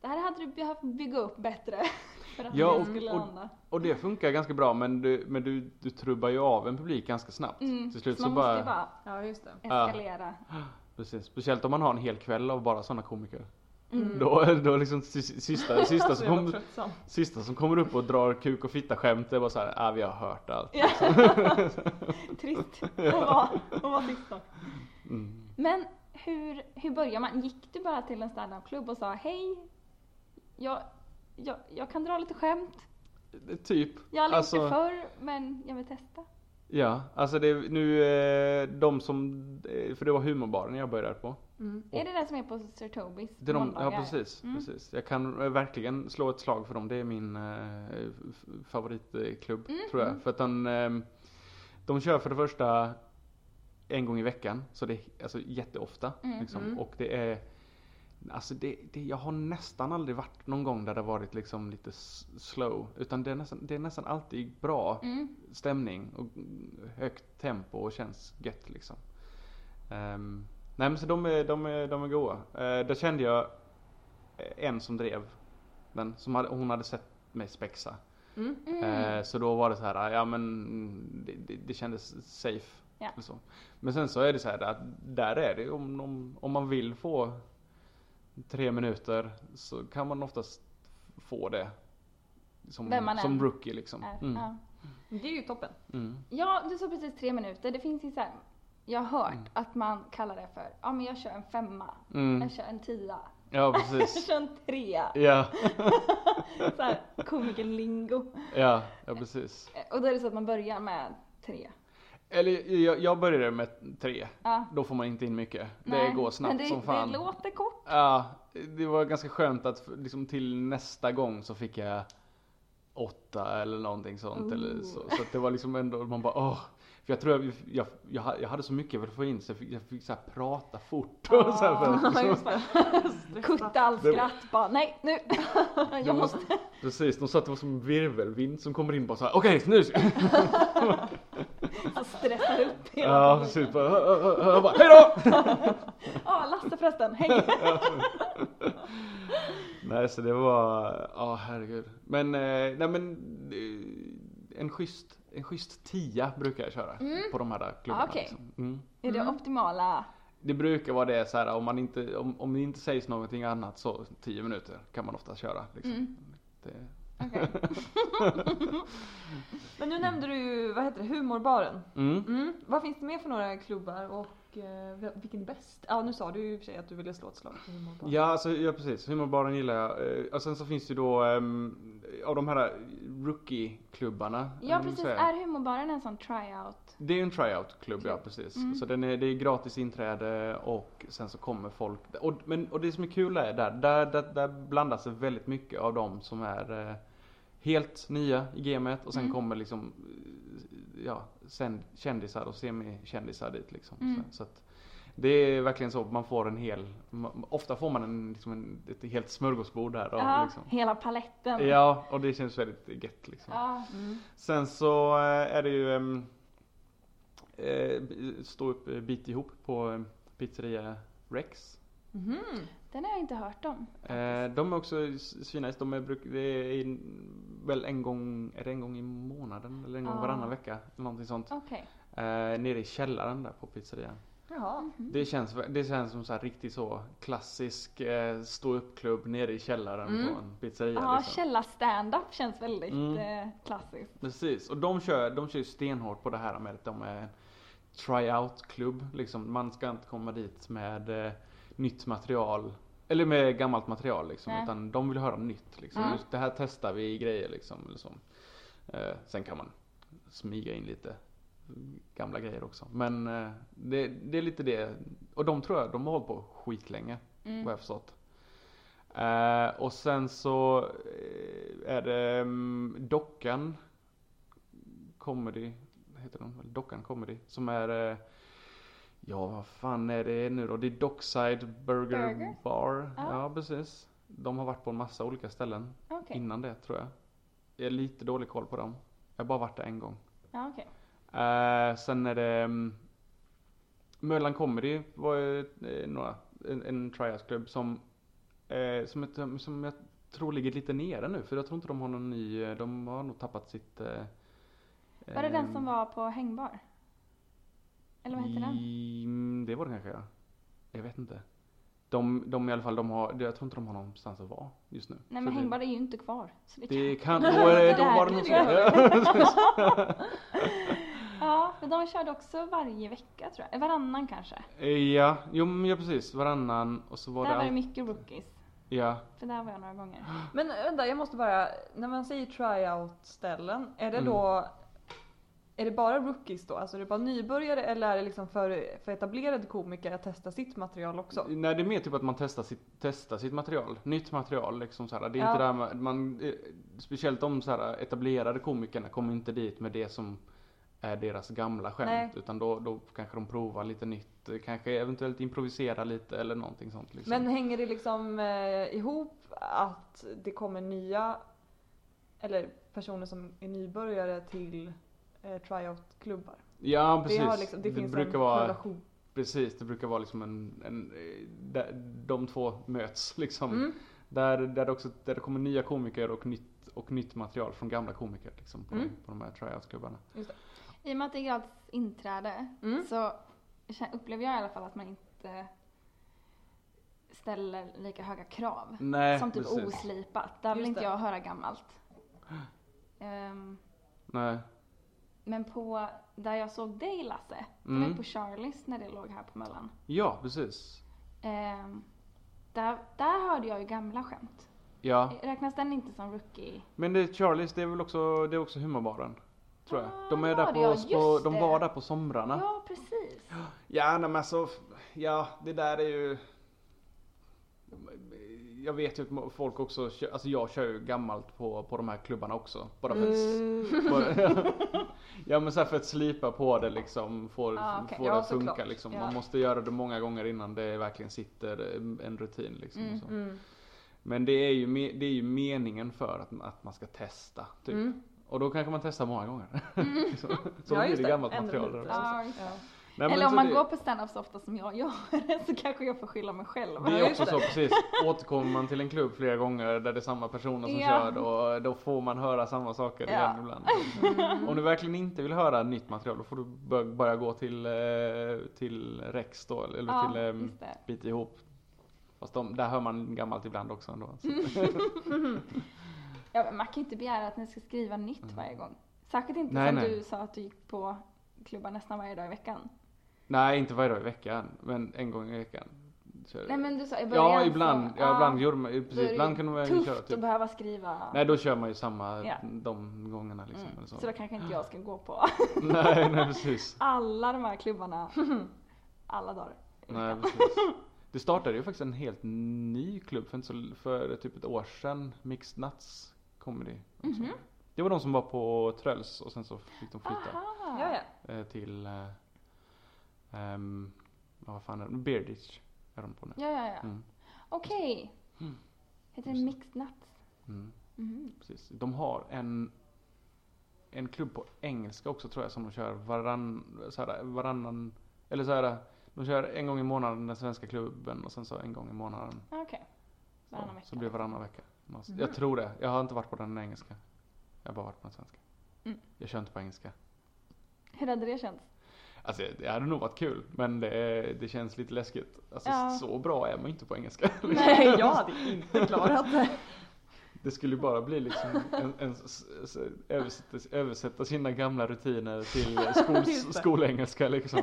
[SPEAKER 2] det här hade du behövt bygga upp bättre. För att
[SPEAKER 4] Ja,
[SPEAKER 2] det
[SPEAKER 4] och-
[SPEAKER 2] skulle
[SPEAKER 4] och-
[SPEAKER 2] landa.
[SPEAKER 4] Och det funkar ganska bra men du, men du, du trubbar ju av en publik ganska snabbt.
[SPEAKER 2] Mm.
[SPEAKER 4] Till slut
[SPEAKER 2] så
[SPEAKER 4] så
[SPEAKER 2] man
[SPEAKER 4] bara,
[SPEAKER 2] måste ju bara
[SPEAKER 3] Ja, just det.
[SPEAKER 4] Ja.
[SPEAKER 2] eskalera.
[SPEAKER 4] Precis, speciellt om man har en hel kväll av bara sådana komiker.
[SPEAKER 2] Mm.
[SPEAKER 4] Då, då liksom sy- sista, sista,
[SPEAKER 3] Så
[SPEAKER 4] som
[SPEAKER 3] jävla
[SPEAKER 4] kom,
[SPEAKER 3] Alltså, tröttsam.
[SPEAKER 4] sista som kommer upp och drar kuk och fitta skämt det är bara såhär, ah vi har hört allt.
[SPEAKER 2] Ja. Trist att vara, att vara tyst då.
[SPEAKER 4] Mm.
[SPEAKER 2] Men hur, hur börjar man? Gick du bara till en standupklubb och sa hej, jag, jag, jag kan dra lite skämt,
[SPEAKER 4] Typ.
[SPEAKER 2] jag har aldrig gjort
[SPEAKER 4] Alltså-
[SPEAKER 2] det förr men jag vill testa.
[SPEAKER 4] Ja, alltså det är nu eh, de som, eh, för det var humorbaren jag började på.
[SPEAKER 3] Mm.
[SPEAKER 2] Är det den som är på Sir Tobis?
[SPEAKER 4] Det är de, ja
[SPEAKER 2] måndagar?
[SPEAKER 4] precis,
[SPEAKER 2] Mm.
[SPEAKER 4] precis. Jag kan eh, verkligen slå ett slag för dem. Det är min eh, f- favoritklubb
[SPEAKER 2] Mm,
[SPEAKER 4] tror jag.
[SPEAKER 2] mm.
[SPEAKER 4] För att den, ehm, de kör för det första en gång i veckan. Så det är alltså, jätteofta.
[SPEAKER 2] Mm,
[SPEAKER 4] liksom.
[SPEAKER 3] mm.
[SPEAKER 4] Och det är, alltså det, det, jag har nästan aldrig varit någon gång där det har varit liksom lite s- slow. Utan det är nästan, det är nästan alltid bra
[SPEAKER 2] Mm.
[SPEAKER 4] stämning och högt tempo och känns gött liksom. Ehm, nej men så de är, de är, de är goa. Uh, där kände jag en som drev den, som hade, hon hade sett mig spexa.
[SPEAKER 3] Mm.
[SPEAKER 2] Mm.
[SPEAKER 4] Eh, så då var det så här, ja men det, det, det kändes safe.
[SPEAKER 2] Ja.
[SPEAKER 4] Eller så. Men sen så är det så här att där är det om, om, om man vill få tre minuter så kan man oftast få det.
[SPEAKER 2] Vem
[SPEAKER 4] Som,
[SPEAKER 2] man än
[SPEAKER 4] som rookie liksom.
[SPEAKER 2] Är-
[SPEAKER 4] Mm,
[SPEAKER 2] Äh, ja.
[SPEAKER 3] Det är ju toppen.
[SPEAKER 4] mm.
[SPEAKER 2] Ja, du sa precis tre minuter. Det finns ju så här, jag har hört
[SPEAKER 4] Mm.
[SPEAKER 2] att man kallar det för, ja men jag kör en femma,
[SPEAKER 4] Mm.
[SPEAKER 2] jag kör en tia,
[SPEAKER 4] Ja
[SPEAKER 2] jag
[SPEAKER 4] precis.
[SPEAKER 2] kör en trea.
[SPEAKER 4] Ja,
[SPEAKER 2] Så här, komikerlingo.
[SPEAKER 4] ja, ja precis.
[SPEAKER 2] Eh, Och då är det så att man börjar med tre.
[SPEAKER 4] Eller jag, jag började med tre.
[SPEAKER 2] Ja.
[SPEAKER 4] Då får man inte in mycket.
[SPEAKER 2] Nej,
[SPEAKER 4] det går
[SPEAKER 2] men
[SPEAKER 4] snabbt
[SPEAKER 2] det,
[SPEAKER 4] som fan.
[SPEAKER 2] Det låter kort.
[SPEAKER 4] Ja, det var ganska skönt att f- liksom till nästa gång så fick jag åtta eller någonting sånt. Eller så. så att det var liksom ändå, man bara åh. För jag tror jag, jag, jag, ha- jag hade så mycket jag ville få in så jag fick, jag fick så här prata fort. Och så här för,
[SPEAKER 2] Ah,
[SPEAKER 4] liksom,
[SPEAKER 3] Ja, just det.
[SPEAKER 2] Kutta all
[SPEAKER 4] Det-
[SPEAKER 2] skratt bara, nej nu.
[SPEAKER 4] de,
[SPEAKER 2] jag måste.
[SPEAKER 4] Precis, de sa att det var som en virvelvind som kommer in bara så här. okej nu ska
[SPEAKER 2] Jag stressar upp hela
[SPEAKER 4] Ja
[SPEAKER 2] tiden.
[SPEAKER 4] precis, bara, "Ö, ö, ö, ö", och bara hejdå!
[SPEAKER 2] Ja, Lasse förresten, hej.
[SPEAKER 4] Nej så det var, ja herregud. Men, eh, nej men eh, en schysst, en schysst tia brukar jag köra på de här där klubbarna.
[SPEAKER 2] Ah, okej.
[SPEAKER 4] liksom. mm.
[SPEAKER 2] Är det optimala?
[SPEAKER 4] Det brukar vara det så här om, man inte, om, om det inte sägs någonting annat så 10 minuter kan man ofta köra. Liksom.
[SPEAKER 2] Mm.
[SPEAKER 4] Det,
[SPEAKER 2] Okej.
[SPEAKER 4] Mm,
[SPEAKER 3] Men nu nämnde du ju, vad heter det, humorbaren.
[SPEAKER 4] mm.
[SPEAKER 3] Mm. Vad finns det mer för några klubbar och eh, vilken är bäst? Ja nu sa du ju i och för sig att du ville slå ett slag för humorbaren.
[SPEAKER 4] Ja, alltså, ja precis. Humorbaren gillar jag. Eh, Och sen så finns det ju då ehm, av de här rookie-klubbarna. eller
[SPEAKER 2] Ja
[SPEAKER 4] vad man
[SPEAKER 2] precis,
[SPEAKER 4] säger.
[SPEAKER 2] är humorbaren en sån tryout?
[SPEAKER 4] Det är ju en tryout-klubb, ja precis.
[SPEAKER 2] Mm.
[SPEAKER 4] Så den är, det är gratis inträde och sen så kommer folk. Och, men, och det som är kul är där, där, där, där blandas det väldigt mycket av de som är eh, helt nya i gamet och sen
[SPEAKER 2] Mm.
[SPEAKER 4] kommer liksom eh, ja, sen, kändisar och semikändisar dit liksom.
[SPEAKER 2] Mm.
[SPEAKER 4] Så, så att, det är verkligen så, man får en hel, ma- ofta får man en, liksom en, ett helt smörgåsbord där. av
[SPEAKER 2] Ja,
[SPEAKER 4] liksom.
[SPEAKER 2] hela paletten.
[SPEAKER 4] ja, och det känns väldigt gött liksom.
[SPEAKER 2] Ja.
[SPEAKER 3] Mm.
[SPEAKER 4] Sen så eh, är det ju ehm, eh, b- stå upp eh, bit ihop på eh, pizzeria Rex.
[SPEAKER 3] Mhm.
[SPEAKER 2] Den har jag inte hört om.
[SPEAKER 4] Eh, de är också s- svinnice. De är, bruk- det är en- väl en gång, är det en gång i månaden eller en gång
[SPEAKER 3] Ja.
[SPEAKER 4] varannan vecka? Eller någonting sånt.
[SPEAKER 2] Okej.
[SPEAKER 4] Eh, nere i källaren där på pizzerian.
[SPEAKER 3] Jaha.
[SPEAKER 4] Det känns, vä- det känns som så här riktigt så klassisk eh, stå upp-klubb nere i källaren
[SPEAKER 3] Mm.
[SPEAKER 4] på en pizzeria.
[SPEAKER 2] Ja,
[SPEAKER 4] liksom.
[SPEAKER 2] källa-standup känns väldigt
[SPEAKER 4] Mm.
[SPEAKER 2] eh, klassiskt.
[SPEAKER 4] Precis, och de kör, de kör ju stenhårt på det här med att de är en tryout-klubb. Liksom. Man ska inte komma dit med eh, nytt material, eller med gammalt material liksom,
[SPEAKER 2] Nej.
[SPEAKER 4] utan de vill höra nytt. Liksom.
[SPEAKER 2] Ja.
[SPEAKER 4] Det här testar vi i grejer liksom. Eller så. Eh, sen kan man smyga in lite gamla grejer också. Men eh, det, det är lite det, och de tror jag, de har hållit på skitlänge vad
[SPEAKER 2] Mm.
[SPEAKER 4] jag förstått. Eh, och sen så eh, är det mm, Dockan Comedy, heter den väl? Dockan Comedy, som är eh, Ja vad fan är det nu då? Det är Dockside Burger,
[SPEAKER 2] Burger?
[SPEAKER 4] Bar.
[SPEAKER 2] Ja.
[SPEAKER 4] Ja precis. De har varit på en massa olika ställen
[SPEAKER 2] Okej.
[SPEAKER 4] innan det tror jag. Jag har lite dålig koll på dem. Jag har bara varit där en gång.
[SPEAKER 2] Ja, okej.
[SPEAKER 4] Eh, sen är det um, Möllan Comedy var ju eh, några, en, en tryout-klubb som, eh, som, ett, som jag tror ligger lite nere nu för jag tror inte de har någon ny, eh, de har nog tappat sitt... eh,
[SPEAKER 2] Var det den
[SPEAKER 4] ehm,
[SPEAKER 2] som var på hängbar? Eller vad hette den?
[SPEAKER 4] i- Mm, Det var det kanske ja. Jag vet inte. De, de i alla fall, de har, jag tror inte de har någonstans att vara just nu.
[SPEAKER 2] Nej
[SPEAKER 4] Så
[SPEAKER 2] men
[SPEAKER 4] det-
[SPEAKER 2] hängbar är ju inte kvar. Så det kan...
[SPEAKER 4] Det kan, då, är det, då var det nog så.
[SPEAKER 2] Ja. Ja, men de körde också varje vecka tror jag. Varannan kanske.
[SPEAKER 4] Eh, Ja, jo men ja precis, varannan och så var
[SPEAKER 2] Där
[SPEAKER 4] det...
[SPEAKER 2] var det
[SPEAKER 4] all-
[SPEAKER 2] mycket rookies.
[SPEAKER 4] Ja.
[SPEAKER 2] För där var jag några gånger.
[SPEAKER 3] Men vänta, jag måste bara, när man säger tryout-ställen, är det då är det bara rookies då? Alltså är det bara nybörjare eller är det liksom för, för etablerade komiker att testa sitt material också?
[SPEAKER 4] Nej det är mer typ att man testar sitt, testar sitt material, nytt material liksom så här. Det är
[SPEAKER 3] Ja.
[SPEAKER 4] inte där man, man eh, speciellt de så här etablerade komikerna kommer inte dit med det som är deras gamla skämt
[SPEAKER 3] Nej.
[SPEAKER 4] utan då, då kanske de provar lite nytt, eh, kanske eventuellt improvisera lite eller någonting sånt liksom.
[SPEAKER 3] Men hänger det liksom eh, ihop att det kommer nya eller personer som är nybörjare till eh, tryout-klubbar?
[SPEAKER 4] ja
[SPEAKER 3] Det,
[SPEAKER 4] precis,
[SPEAKER 3] har liksom, det, finns
[SPEAKER 4] brukar
[SPEAKER 3] en
[SPEAKER 4] vara,
[SPEAKER 3] korrelation.
[SPEAKER 4] precis, det brukar vara liksom en, en eh, där, de två möts liksom.
[SPEAKER 3] Mm.
[SPEAKER 4] Där, där, det också, där det kommer nya komiker och nytt, och nytt material från gamla komiker liksom på,
[SPEAKER 3] Mm.
[SPEAKER 4] på de här tryout-klubbarna.
[SPEAKER 2] I och med att det är gratis inträde
[SPEAKER 3] Mm.
[SPEAKER 2] så kä- upplever jag i alla fall att man inte ställer lika höga krav.
[SPEAKER 4] Nej,
[SPEAKER 2] som typ
[SPEAKER 4] Eh, precis.
[SPEAKER 2] oslipat. Där vill
[SPEAKER 3] Just
[SPEAKER 2] inte
[SPEAKER 3] det.
[SPEAKER 2] jag höra gammalt. Ehm,
[SPEAKER 4] Nej.
[SPEAKER 2] men på, där jag såg dig Lasse, det var
[SPEAKER 4] Mm.
[SPEAKER 2] på Charlies när det låg här på Möllan.
[SPEAKER 4] Ja, precis.
[SPEAKER 2] Ehm, där, där hörde jag ju gamla skämt.
[SPEAKER 4] Ja,
[SPEAKER 2] Räknas den inte som rookie?
[SPEAKER 4] men det är Charlies, det är väl också, det är också humorbaren. Tror jag.
[SPEAKER 2] Ah,
[SPEAKER 4] De är
[SPEAKER 2] det
[SPEAKER 4] där
[SPEAKER 2] var
[SPEAKER 4] på,
[SPEAKER 2] det, ja,
[SPEAKER 4] på
[SPEAKER 2] just
[SPEAKER 4] de
[SPEAKER 2] det.
[SPEAKER 4] var där på somrarna. Ja,
[SPEAKER 2] Ja, precis.
[SPEAKER 4] nej, men alltså, ja det där är ju jag vet ju att folk också, kö- alltså jag kör ju gammalt på, på de här klubbarna också. Bara för att,
[SPEAKER 3] Mm.
[SPEAKER 2] Mm.
[SPEAKER 4] bara, ja men så här för att slipa på det liksom, få,
[SPEAKER 2] Ah, okej.
[SPEAKER 4] få
[SPEAKER 3] Ja,
[SPEAKER 4] det att funka
[SPEAKER 3] såklart.
[SPEAKER 4] liksom.
[SPEAKER 3] Ja.
[SPEAKER 4] Man måste göra det många gånger innan det verkligen sitter eh, en rutin liksom.
[SPEAKER 2] Mm,
[SPEAKER 4] och så.
[SPEAKER 3] Mm.
[SPEAKER 4] Men det är ju, me- det är ju meningen för att, att man ska testa. Typ.
[SPEAKER 3] Mm.
[SPEAKER 4] Och då kanske man testar många gånger. så så
[SPEAKER 3] Ja,
[SPEAKER 4] blir
[SPEAKER 3] just
[SPEAKER 4] det
[SPEAKER 3] det.
[SPEAKER 4] gammalt
[SPEAKER 3] Ändå
[SPEAKER 4] material.
[SPEAKER 3] lite.
[SPEAKER 4] där också.
[SPEAKER 2] Ja, exakt.
[SPEAKER 3] Ja.
[SPEAKER 4] Nej, men
[SPEAKER 2] Eller om
[SPEAKER 4] så
[SPEAKER 2] man
[SPEAKER 4] det,
[SPEAKER 2] går på standup så ofta som jag gör så kanske jag får skylla mig själv.
[SPEAKER 4] Det
[SPEAKER 3] Ja,
[SPEAKER 4] är
[SPEAKER 3] just
[SPEAKER 4] också
[SPEAKER 3] det.
[SPEAKER 4] så precis. Återkommer man till en klubb flera gånger där det är samma personer som
[SPEAKER 2] Ja.
[SPEAKER 4] kör då, då får man höra samma saker
[SPEAKER 3] Ja.
[SPEAKER 4] igen ibland. Om du verkligen inte vill höra nytt material då får du bör- börja gå till, eh, till Rex då eller
[SPEAKER 2] Ja,
[SPEAKER 4] till ehm,
[SPEAKER 2] just det.
[SPEAKER 4] Bit ihop. Fast de, där hör man gammalt ibland också ändå. Så.
[SPEAKER 2] Ja, men man kan ju inte begära att ni ska skriva nytt varje gång. Särskilt inte
[SPEAKER 4] Mm. Nej,
[SPEAKER 2] som
[SPEAKER 4] nej.
[SPEAKER 2] du sa att du gick på klubbar nästan varje dag i veckan.
[SPEAKER 4] Nej, inte varje dag i veckan, men en gång i veckan. kör jag.
[SPEAKER 2] Nej men du sa i början
[SPEAKER 4] Eh, Ja,
[SPEAKER 2] så-
[SPEAKER 4] ibland. Ja, ibland gjorde man,
[SPEAKER 2] då är
[SPEAKER 4] precis,
[SPEAKER 2] det
[SPEAKER 4] ibland kunde man ju
[SPEAKER 2] tufft
[SPEAKER 4] köra
[SPEAKER 2] att
[SPEAKER 4] typ.
[SPEAKER 2] behöva skriva.
[SPEAKER 4] Nej, då kör man ju samma
[SPEAKER 2] Ja. Mm.
[SPEAKER 4] de gångerna liksom. Eller
[SPEAKER 2] så.
[SPEAKER 4] så.
[SPEAKER 2] då kanske inte jag ska gå på
[SPEAKER 4] nej, nej precis.
[SPEAKER 2] alla de här klubbarna alla dagar. i
[SPEAKER 4] Nej,
[SPEAKER 2] veckan.
[SPEAKER 4] precis. Det startade ju faktiskt en helt ny klubb för, inte så, för typ ett år sedan, Mixed Nuts Comedy. också.
[SPEAKER 2] Mhm.
[SPEAKER 4] Det var de som var på Tröls och sen så fick de flytta
[SPEAKER 2] Aha.
[SPEAKER 3] Ja, ja.
[SPEAKER 4] eh, till, eh, ehm, vad fan är det, Bearditch är de på nu.
[SPEAKER 2] Ja, ja, ja.
[SPEAKER 4] Mm.
[SPEAKER 2] Okej. Heter det Mixed Nuts?
[SPEAKER 4] Mm.
[SPEAKER 2] Mhm.
[SPEAKER 4] Precis. De har en, en klubb på engelska också tror jag som de kör varann, så här, varannan, eller så här, de kör en gång i månaden den svenska klubben och sen så en gång i månaden.
[SPEAKER 2] Ah, Okej. Varannan
[SPEAKER 4] så,
[SPEAKER 2] vecka. Mhm.
[SPEAKER 4] så blir det varannan vecka. Man- Jag tror det. Jag har inte varit på den engelska. Jag har bara varit på den svenska.
[SPEAKER 2] Mm.
[SPEAKER 4] Jag kör inte på engelska.
[SPEAKER 2] Hur hade det känts?
[SPEAKER 4] Alltså det hade nog varit kul men det, det känns lite läskigt. Alltså
[SPEAKER 2] Ja.
[SPEAKER 4] så bra är man inte på engelska.
[SPEAKER 3] Nej, jag hade inte klarat det.
[SPEAKER 4] Det skulle ju bara bli liksom en, en, s- s- översätta, översätta sina gamla rutiner till
[SPEAKER 3] Just
[SPEAKER 4] skol,
[SPEAKER 3] det.
[SPEAKER 4] skolengelska liksom.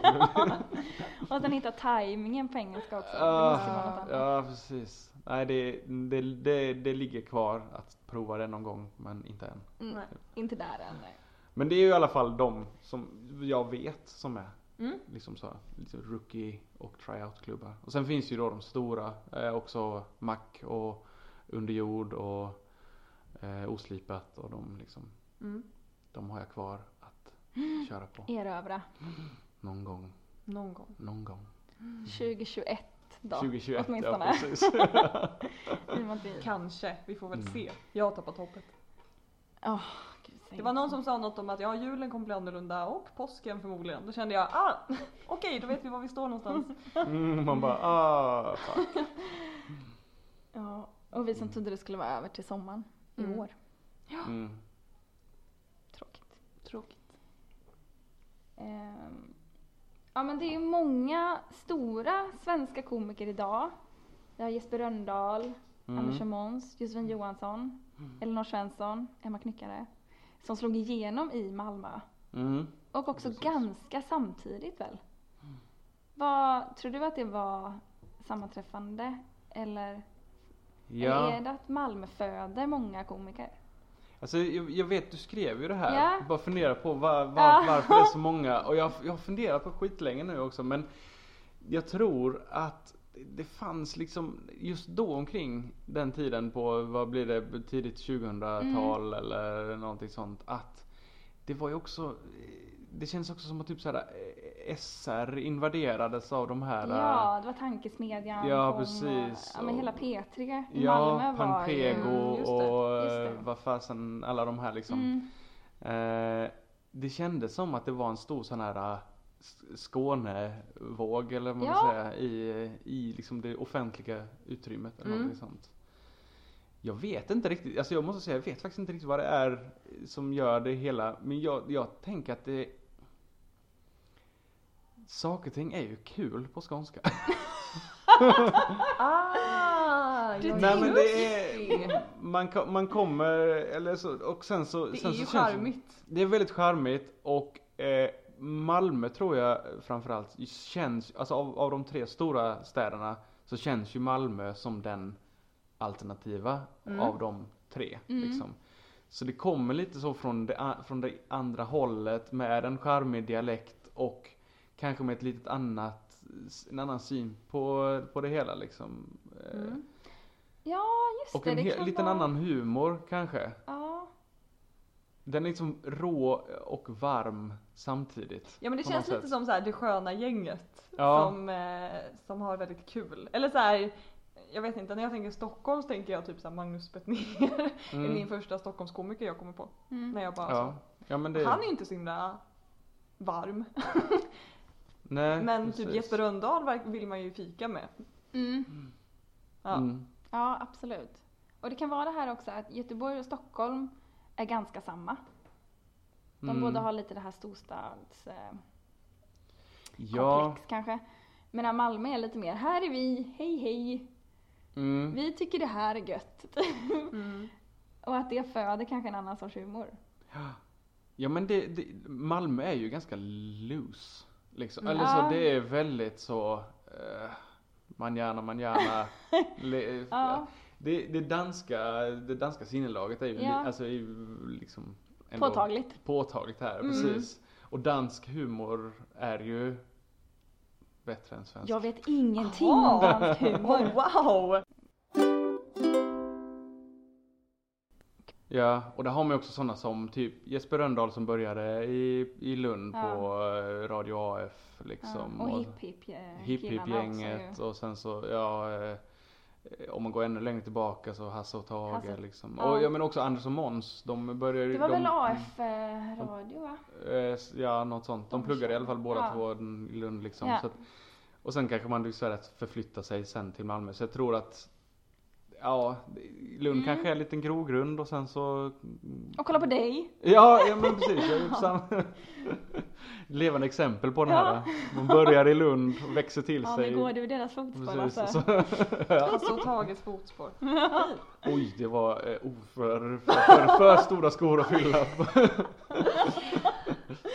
[SPEAKER 2] Och att den hittar tajmingen på engelska också. det måste ju vara något annat.
[SPEAKER 4] ja, Ah, ja, precis. Nej, det, det, det, det ligger kvar att prova det någon gång, men inte än.
[SPEAKER 2] Mm,
[SPEAKER 3] Nej.
[SPEAKER 2] inte där än. nej.
[SPEAKER 4] Men det är ju i alla fall de som jag vet som är
[SPEAKER 3] Mm.
[SPEAKER 4] liksom så, här, lite rookie och tryout-klubbar. Och sen finns ju då de stora, eh, också Mac och Underjord och eh, Oslipat och de liksom.
[SPEAKER 3] Mm.
[SPEAKER 4] De har jag kvar att köra på.
[SPEAKER 2] Erövra.
[SPEAKER 4] Någon gång,
[SPEAKER 3] Någon gång.
[SPEAKER 4] någon gång.
[SPEAKER 3] Mm.
[SPEAKER 2] 2021 då.
[SPEAKER 4] 2021, ja
[SPEAKER 2] åtminstone.
[SPEAKER 4] precis.
[SPEAKER 2] I och med att vi-
[SPEAKER 3] Kanske, vi får väl
[SPEAKER 4] Mm.
[SPEAKER 3] se. Jag har tappat hoppet.
[SPEAKER 2] Åh, gud, säg
[SPEAKER 3] Det var
[SPEAKER 2] inte
[SPEAKER 3] någon
[SPEAKER 2] så.
[SPEAKER 3] som sa något om att ja, julen kommer bli annorlunda och påsken förmodligen. Då kände jag, ah, okej, då vet vi var vi står någonstans.
[SPEAKER 4] Mm, man bara ah, fuck.
[SPEAKER 2] Ja, och vi som trodde det skulle vara över till sommaren
[SPEAKER 3] Mm.
[SPEAKER 2] i år.
[SPEAKER 4] Mm.
[SPEAKER 2] Tråkigt. Tråkigt. Ehm, ja men det är ju många stora svenska komiker idag. Vi har Jesper Röndahl, Anders och
[SPEAKER 4] Mm.
[SPEAKER 2] Måns, Josefin Johansson, Elinor Svensson, Emma Knyckare. Som slog igenom i Malmö
[SPEAKER 4] Mm.
[SPEAKER 2] Och också
[SPEAKER 4] Precis. Mm.
[SPEAKER 2] ganska samtidigt väl? Vad, tror du att det var sammanträffande? Eller, eller
[SPEAKER 4] Ja.
[SPEAKER 2] är det att Malmö föder många komiker?
[SPEAKER 4] Alltså, jag, jag vet, du skrev ju det här.
[SPEAKER 2] Ja.
[SPEAKER 4] Bara fundera på var, var,
[SPEAKER 2] Ja.
[SPEAKER 4] varför det är så många. Och jag, jag har funderat på skitlänge nu också. Men jag tror att det fanns liksom just då omkring den tiden på, vad blir det, tidigt 2000-tal
[SPEAKER 2] Mm.
[SPEAKER 4] eller någonting sånt. Att det var ju också, det känns också som att typ så här, eh, SR invaderades av de här. eh,
[SPEAKER 2] Ja, det var tankesmedjan.
[SPEAKER 4] Ja,
[SPEAKER 2] kom
[SPEAKER 4] precis.
[SPEAKER 2] Och, ja, men
[SPEAKER 4] Och-
[SPEAKER 2] hela P3 i
[SPEAKER 4] eh, Ja,
[SPEAKER 2] Malmö var ju...
[SPEAKER 4] Pampego
[SPEAKER 3] Mm,
[SPEAKER 2] just det,
[SPEAKER 4] och
[SPEAKER 2] just
[SPEAKER 4] eh,
[SPEAKER 2] det.
[SPEAKER 4] vad fasen, alla de här liksom.
[SPEAKER 2] Mm.
[SPEAKER 4] Eh, det kändes som att det var en stor sån här eh, S- Skånevåg eller vad man
[SPEAKER 2] Ja.
[SPEAKER 4] vill säga i, i liksom det offentliga utrymmet eller
[SPEAKER 3] Mm.
[SPEAKER 4] någonting sånt. Jag vet inte riktigt, alltså jag måste säga jag vet faktiskt inte riktigt vad det är som gör det hela men jag, jag tänker att det Saker och ting är ju kul på skånska.
[SPEAKER 3] Ah!
[SPEAKER 2] Du
[SPEAKER 3] jag-
[SPEAKER 2] Nej, men
[SPEAKER 4] det är, man, ko- man kommer, eller så, och sen så
[SPEAKER 3] Det
[SPEAKER 4] sen
[SPEAKER 3] är
[SPEAKER 4] så
[SPEAKER 3] ju
[SPEAKER 4] känns det-
[SPEAKER 3] charmigt.
[SPEAKER 4] Det är väldigt charmigt och eh, Malmö tror jag framförallt känns, alltså av, av de tre stora städerna så känns ju Malmö som den alternativa
[SPEAKER 2] Mm.
[SPEAKER 4] av de tre. Liksom. Så det kommer lite så från det, a- från det andra hållet med en charmig dialekt och kanske med ett litet annat, en annan syn på, på det hela liksom. Eh,
[SPEAKER 3] Mm.
[SPEAKER 2] Ja, just
[SPEAKER 4] Och
[SPEAKER 2] det.
[SPEAKER 4] en
[SPEAKER 2] det
[SPEAKER 4] he-
[SPEAKER 2] kan
[SPEAKER 4] liten
[SPEAKER 2] vara-
[SPEAKER 4] annan humor kanske.
[SPEAKER 2] Ja.
[SPEAKER 4] Den är liksom rå och varm samtidigt.
[SPEAKER 3] Ja men det
[SPEAKER 4] på
[SPEAKER 3] känns
[SPEAKER 4] något
[SPEAKER 3] lite
[SPEAKER 4] sätt.
[SPEAKER 3] som så här, det sköna gänget
[SPEAKER 4] Ja.
[SPEAKER 3] som, eh, som har väldigt kul. Eller så här, jag vet inte, när jag tänker Stockholm så tänker jag typ så här Magnus Betnér. är min första Stockholmskomiker jag kommer på.
[SPEAKER 2] mm.
[SPEAKER 3] När jag
[SPEAKER 2] Alltså.
[SPEAKER 3] bara
[SPEAKER 4] Mm. Ja. ja men det
[SPEAKER 3] så, han är ju inte så himla varm.
[SPEAKER 4] Nej,
[SPEAKER 3] Men
[SPEAKER 4] precis.
[SPEAKER 3] typ Jesper Rönndahl verk- vill man ju fika med.
[SPEAKER 2] Mm.
[SPEAKER 3] Ja.
[SPEAKER 4] Mm.
[SPEAKER 2] ja, absolut. Och det kan vara det här också att Göteborg och Stockholm är ganska samma. De
[SPEAKER 4] Mm.
[SPEAKER 2] båda har lite det här storstads... Eh,
[SPEAKER 4] Ja.
[SPEAKER 2] komplex kanske. Medan Malmö är lite mer, här är vi, hej hej,
[SPEAKER 4] Mm.
[SPEAKER 2] vi tycker det här är gött.
[SPEAKER 3] Mm.
[SPEAKER 2] och att det föder kanske en annan sorts humor.
[SPEAKER 4] Ja men det, det, Malmö är ju ganska loose. Liksom. Eller
[SPEAKER 2] Mm. Ja.
[SPEAKER 4] så det är väldigt så eh, man gärna, man gärna. le,
[SPEAKER 2] Ja.
[SPEAKER 4] det, det, danska, det danska sinnelaget är ju li,
[SPEAKER 2] Ja.
[SPEAKER 4] alltså, är ju liksom ändå
[SPEAKER 2] Påtagligt. Mm.
[SPEAKER 4] påtagligt här. Precis. Och dansk humor är ju bättre än svensk.
[SPEAKER 2] Jag vet ingenting
[SPEAKER 3] Jaha.
[SPEAKER 2] om dansk humor.
[SPEAKER 3] Oh, wow!
[SPEAKER 4] Ja, och där har man ju också sådana som typ Jesper Rönndahl som började i, i Lund
[SPEAKER 2] Ja.
[SPEAKER 4] på eh, Radio AF liksom.
[SPEAKER 2] Ja, och hip hip eh,
[SPEAKER 4] Hipp Hipp
[SPEAKER 2] killarna också
[SPEAKER 4] gänget
[SPEAKER 2] ju.
[SPEAKER 4] och sen så, ja eh, om man går ännu längre tillbaka så Hasse och Tage
[SPEAKER 2] Hasse-
[SPEAKER 4] liksom.
[SPEAKER 2] ja.
[SPEAKER 4] Och ja men också Anders och Måns, de började ju-
[SPEAKER 2] Det var
[SPEAKER 4] de,
[SPEAKER 2] väl AF-radio va?
[SPEAKER 4] eh, s- Ja, något sånt. De
[SPEAKER 2] De
[SPEAKER 4] pluggade i alla fall båda
[SPEAKER 2] Ja.
[SPEAKER 4] två i Lund liksom.
[SPEAKER 2] Ja.
[SPEAKER 4] Så att, och sen kanske man lyckas att förflytta sig sen till Malmö. Så jag tror att Ja, Lund
[SPEAKER 2] Mm.
[SPEAKER 4] kanske är en liten grogrund och sen så
[SPEAKER 2] Och kolla på dig!
[SPEAKER 4] Ja, ja men precis. Jag är sam- Levande exempel på den här. Man börjar i Lund och växer till
[SPEAKER 2] Ja
[SPEAKER 4] sig.
[SPEAKER 2] men går du i deras fotspår
[SPEAKER 4] Precis, och
[SPEAKER 2] alltså?
[SPEAKER 4] så,
[SPEAKER 3] Hasse och Tages Alltså, fotspår.
[SPEAKER 4] oj, det var eh, oh, för, för, för, för stora skor att fylla.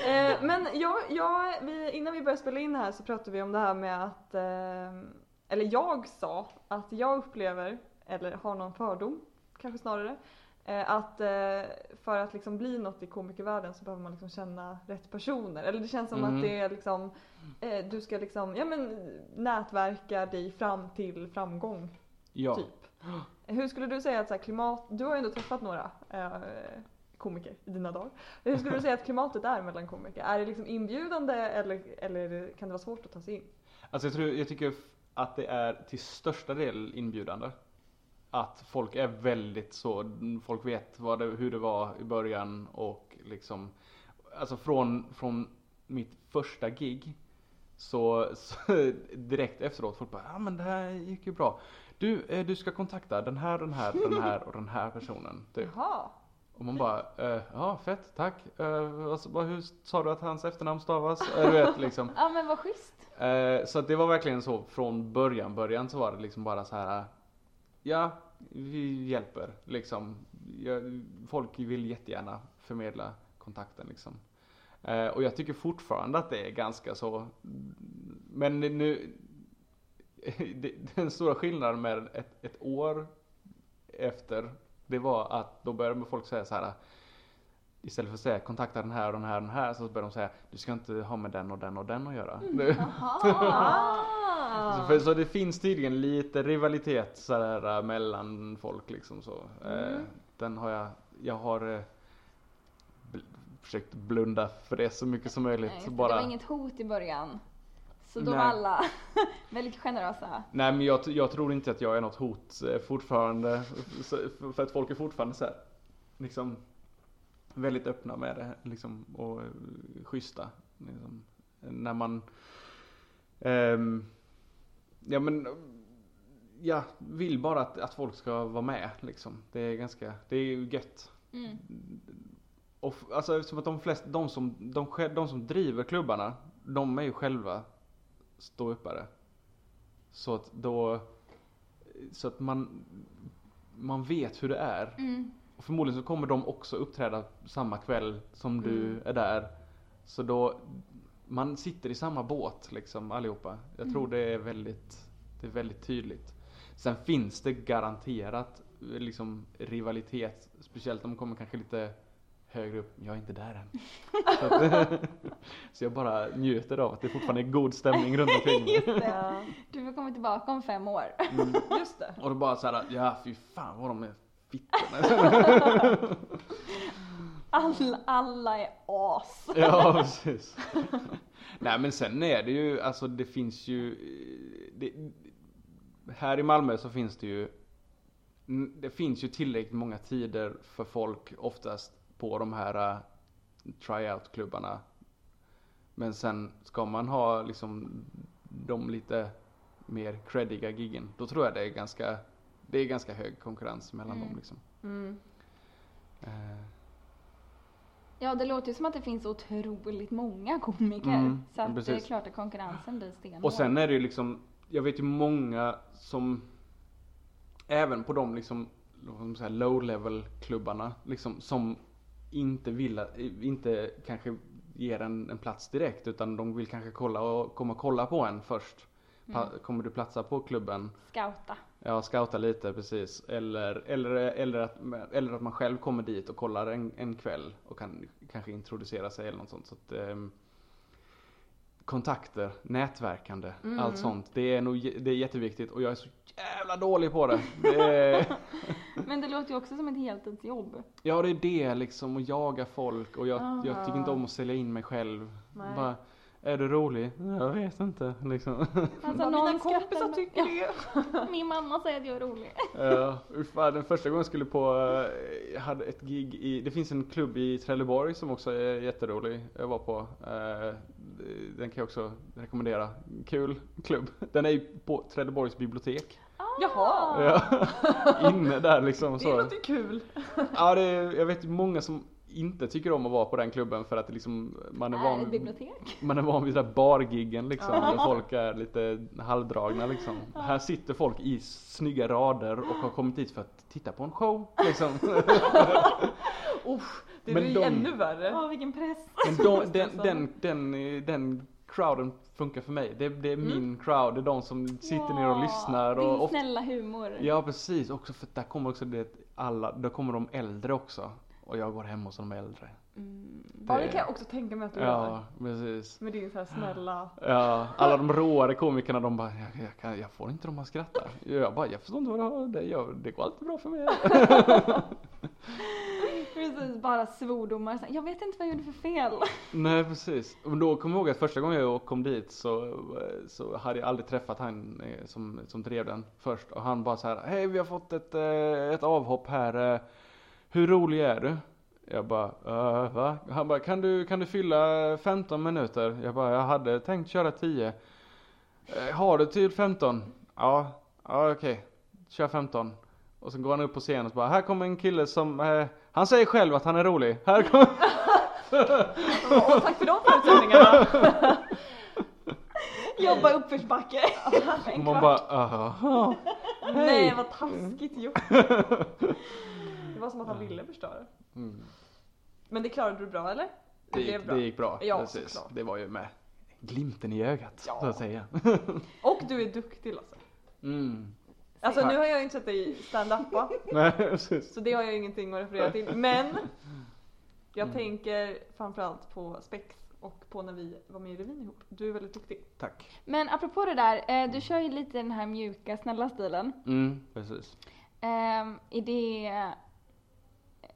[SPEAKER 3] Eh, men jag, jag, vi, innan vi började spela in här så pratade vi om det här med att, eh, eller jag sa att jag upplever, eller har någon fördom kanske snarare, eh, att eh, för att liksom bli något i komikervärlden så behöver man liksom känna rätt personer. Eller det känns som
[SPEAKER 4] Mm.
[SPEAKER 3] att det är liksom, eh, du ska liksom, ja men nätverka dig fram till framgång
[SPEAKER 4] Ja.
[SPEAKER 3] typ. Hur skulle du säga att så här, klimat, du har ju ändå träffat några eh, komiker i dina dagar. Hur skulle du säga att klimatet är mellan komiker? Är det liksom inbjudande eller, eller kan det vara svårt att ta sig in?
[SPEAKER 4] Alltså jag, tror, jag tycker att det är till största del inbjudande. Att folk är väldigt så, folk vet vad det, hur det var i början och liksom Alltså från, från mitt första gig så, så direkt efteråt folk bara ja ah, men det här gick ju bra. Du, eh, du ska kontakta den här, den här, den här och den här personen. Typ.
[SPEAKER 3] Jaha,
[SPEAKER 4] Och man bara, eh, ja fett, tack. Eh, alltså, bara, hur sa du att hans efternamn stavas? Eh, du vet liksom.
[SPEAKER 2] Ja men vad schysst!
[SPEAKER 4] Eh, så att det var verkligen så från början, början så var det liksom bara så här. Ja, vi hjälper liksom. Ja, folk vill jättegärna förmedla kontakten liksom. Eh, och jag tycker fortfarande att det är ganska så. Men nu, det, den stora skillnaden med ett, ett år efter, det var att då började folk säga så här. Istället för att säga kontakta den här och den här och den här så började de säga du ska inte ha med den och den och den att göra. Nu-
[SPEAKER 3] Ah.
[SPEAKER 4] så, för, så det finns tydligen lite rivalitet så här, äh, mellan folk liksom så.
[SPEAKER 5] Mm.
[SPEAKER 4] Eh, den har jag, jag har eh, bl- försökt blunda för det så mycket som möjligt.
[SPEAKER 5] Nej, för
[SPEAKER 4] bara...
[SPEAKER 5] Det var inget hot i början. Så då
[SPEAKER 4] Nej.
[SPEAKER 5] var alla väldigt generösa.
[SPEAKER 4] Nej men jag, t- jag tror inte att jag är något hot eh, fortfarande. Så, för- för att folk är fortfarande så här, liksom väldigt öppna med det liksom, och eh, schyssta. Liksom. När man ehm, ja men ja, vill bara att, att folk ska vara med liksom. Det är ganska, det är ju gött.
[SPEAKER 5] Mm.
[SPEAKER 4] Och f- alltså eftersom att de flesta, de som, de, sj- de som driver klubbarna, de är ju själva ståuppare. Så att då, så att man, man vet hur det är.
[SPEAKER 5] Mm.
[SPEAKER 4] Och förmodligen så kommer de också uppträda samma kväll som du
[SPEAKER 3] Mm.
[SPEAKER 4] är där. Så då, man sitter i samma båt liksom allihopa. Jag tror det är väldigt, det är väldigt tydligt. Sen finns det garanterat eh, liksom rivalitet, speciellt om de kommer kanske lite högre upp. Jag är inte där än. så, att, så jag bara njuter av att det fortfarande är god stämning runt omkring mig.
[SPEAKER 3] Ja.
[SPEAKER 5] Du får komma tillbaka om fem år.
[SPEAKER 4] Mm.
[SPEAKER 3] Just det.
[SPEAKER 4] Och då bara såhär, ja fy fan vad de är fittor.
[SPEAKER 5] All, alla är as.
[SPEAKER 4] Ja, precis. Nej men sen är det ju, alltså det finns ju, eh, det, här i Malmö så finns det ju, n- det finns ju tillräckligt många tider för folk oftast på de här eh, tryout-klubbarna. Men sen ska man ha liksom de lite mer creddiga giggen, då tror jag det är ganska, det är ganska hög konkurrens mellan
[SPEAKER 5] Mm.
[SPEAKER 4] dem liksom.
[SPEAKER 3] Mm.
[SPEAKER 4] Eh,
[SPEAKER 5] Ja, det låter ju som att det finns otroligt många komiker.
[SPEAKER 4] Mm,
[SPEAKER 5] så att det är
[SPEAKER 4] precis.
[SPEAKER 5] klart att konkurrensen blir stenhård.
[SPEAKER 4] Och sen är det ju liksom, jag vet ju många som, även på de liksom, vad ska man säga, low level klubbarna, liksom, som inte vill, att- inte kanske ger en, en plats direkt utan de vill kanske kolla och komma och kolla på en först. Pa, Kommer du platsa på klubben?
[SPEAKER 5] Mm. Scouta.
[SPEAKER 4] Ja, scouta lite precis. Eller, eller, eller, att, eller att man själv kommer dit och kollar en, en kväll och kan kanske introducera sig eller något sånt. Så att, ehm, kontakter, nätverkande, allt sånt. Det är, nog, j- det är jätteviktigt och jag är så jävla dålig på det. det är,
[SPEAKER 5] Men det låter ju också som ett heltidsjobb.
[SPEAKER 4] ja, det är det liksom, att jaga folk och jag, jag tycker inte
[SPEAKER 3] Ah.
[SPEAKER 4] om att sälja in mig själv.
[SPEAKER 3] Nej.
[SPEAKER 4] Bara, är du rolig? Jag vet inte liksom.
[SPEAKER 5] Alltså
[SPEAKER 3] Vad
[SPEAKER 5] skrattar
[SPEAKER 3] mina kompisar
[SPEAKER 5] med-
[SPEAKER 3] tycker det.
[SPEAKER 5] ja, Min mamma säger att jag är rolig.
[SPEAKER 4] Uh, fan, den första gången jag skulle på, eh, jag hade ett gig i, det finns en klubb i Trelleborg som också är jätterolig, jag var på. Eh, den kan jag också rekommendera, kul klubb. Den är ju på Trelleborgs bibliotek.
[SPEAKER 3] Ah. Jaha.
[SPEAKER 2] Ah.
[SPEAKER 4] Ja. Inne där liksom
[SPEAKER 3] Det
[SPEAKER 4] så.
[SPEAKER 3] låter ju kul.
[SPEAKER 4] Ja, det är, jag vet ju många som inte tycker om att vara på den klubben för att det liksom, man är
[SPEAKER 5] Är det
[SPEAKER 4] van
[SPEAKER 5] ett bibliotek?
[SPEAKER 4] man är van vid det där bargiggen liksom,
[SPEAKER 3] Ja.
[SPEAKER 4] där folk är lite halvdragna liksom. Här sitter folk i snygga rader och har kommit hit för att titta på en show liksom.
[SPEAKER 3] Usch, det
[SPEAKER 4] Men
[SPEAKER 3] blir ju
[SPEAKER 4] de-
[SPEAKER 3] ännu värre.
[SPEAKER 5] Ja, vilken press.
[SPEAKER 4] Men då, den, den,
[SPEAKER 3] alltså.
[SPEAKER 4] den, eh, den crowden funkar för mig. Det, det är
[SPEAKER 3] Mm.
[SPEAKER 4] min crowd, det är de som sitter ner och lyssnar.
[SPEAKER 5] Din
[SPEAKER 4] Och ofta,
[SPEAKER 5] snälla humor.
[SPEAKER 4] ja precis, också för att där kommer också det alla, där kommer de äldre också. Och jag går hem hos de äldre.
[SPEAKER 2] Mm.
[SPEAKER 3] Ja, det kan jag också tänka mig att du gör.
[SPEAKER 4] Ja, precis.
[SPEAKER 3] Med din så här snälla...
[SPEAKER 4] Ja, alla de råare komikerna de bara, jag, jag, kan, jag får inte dem att skratta. Jag bara, jag förstår inte vad det har, det, gör, det går alltid bra för mig.
[SPEAKER 5] Precis, bara svordomar. Så här, Jag vet inte vad jag gjorde för fel.
[SPEAKER 4] Nej precis. Och då kommer jag ihåg att första gången jag kom dit så, eh, så hade jag aldrig träffat han eh, som, som drev den först. Och han bara så här, hej vi har fått ett, eh, ett avhopp här. eh, Hur rolig är du? Jag bara, äh, va? Han bara, kan du, kan du fylla 15 minuter? Jag bara, jag hade tänkt köra 10. "Eh, Har du till 15? Ja, ja okej. Kör 15. Och sen går han upp på scenen och så bara, här kommer en kille som, eh, han säger själv att han är rolig. Här kommer
[SPEAKER 3] Åh, tack för de förutsättningarna!
[SPEAKER 5] Jobba uppförsbacke.
[SPEAKER 4] Och man bara, aha.
[SPEAKER 3] Nej, vad taskigt gjort!
[SPEAKER 4] Mm.
[SPEAKER 3] Det var som att han ville förstöra. Men det klarade du bra eller?
[SPEAKER 4] Det
[SPEAKER 3] Det
[SPEAKER 4] gick
[SPEAKER 3] blev
[SPEAKER 4] bra.
[SPEAKER 3] bra.
[SPEAKER 4] Det, gick bra.
[SPEAKER 3] Ja,
[SPEAKER 4] precis.
[SPEAKER 3] såklart.
[SPEAKER 4] det var ju med glimten i ögat
[SPEAKER 3] Ja.
[SPEAKER 4] så att säga.
[SPEAKER 3] Och du är duktig Lasse.
[SPEAKER 4] Mm.
[SPEAKER 3] Alltså
[SPEAKER 4] Tack.
[SPEAKER 3] nu har jag ju inte sett dig stand-up va?
[SPEAKER 4] Nej, precis.
[SPEAKER 3] Så det har jag ju ingenting att referera till. Men jag
[SPEAKER 4] Mm.
[SPEAKER 3] tänker framförallt på spex och på när vi var med i revyn ihop. Du är väldigt duktig.
[SPEAKER 4] Tack.
[SPEAKER 2] Men apropå det där, eh, du kör ju lite den här mjuka, snälla stilen.
[SPEAKER 4] Mm, precis.
[SPEAKER 2] Ehm, är, det, är,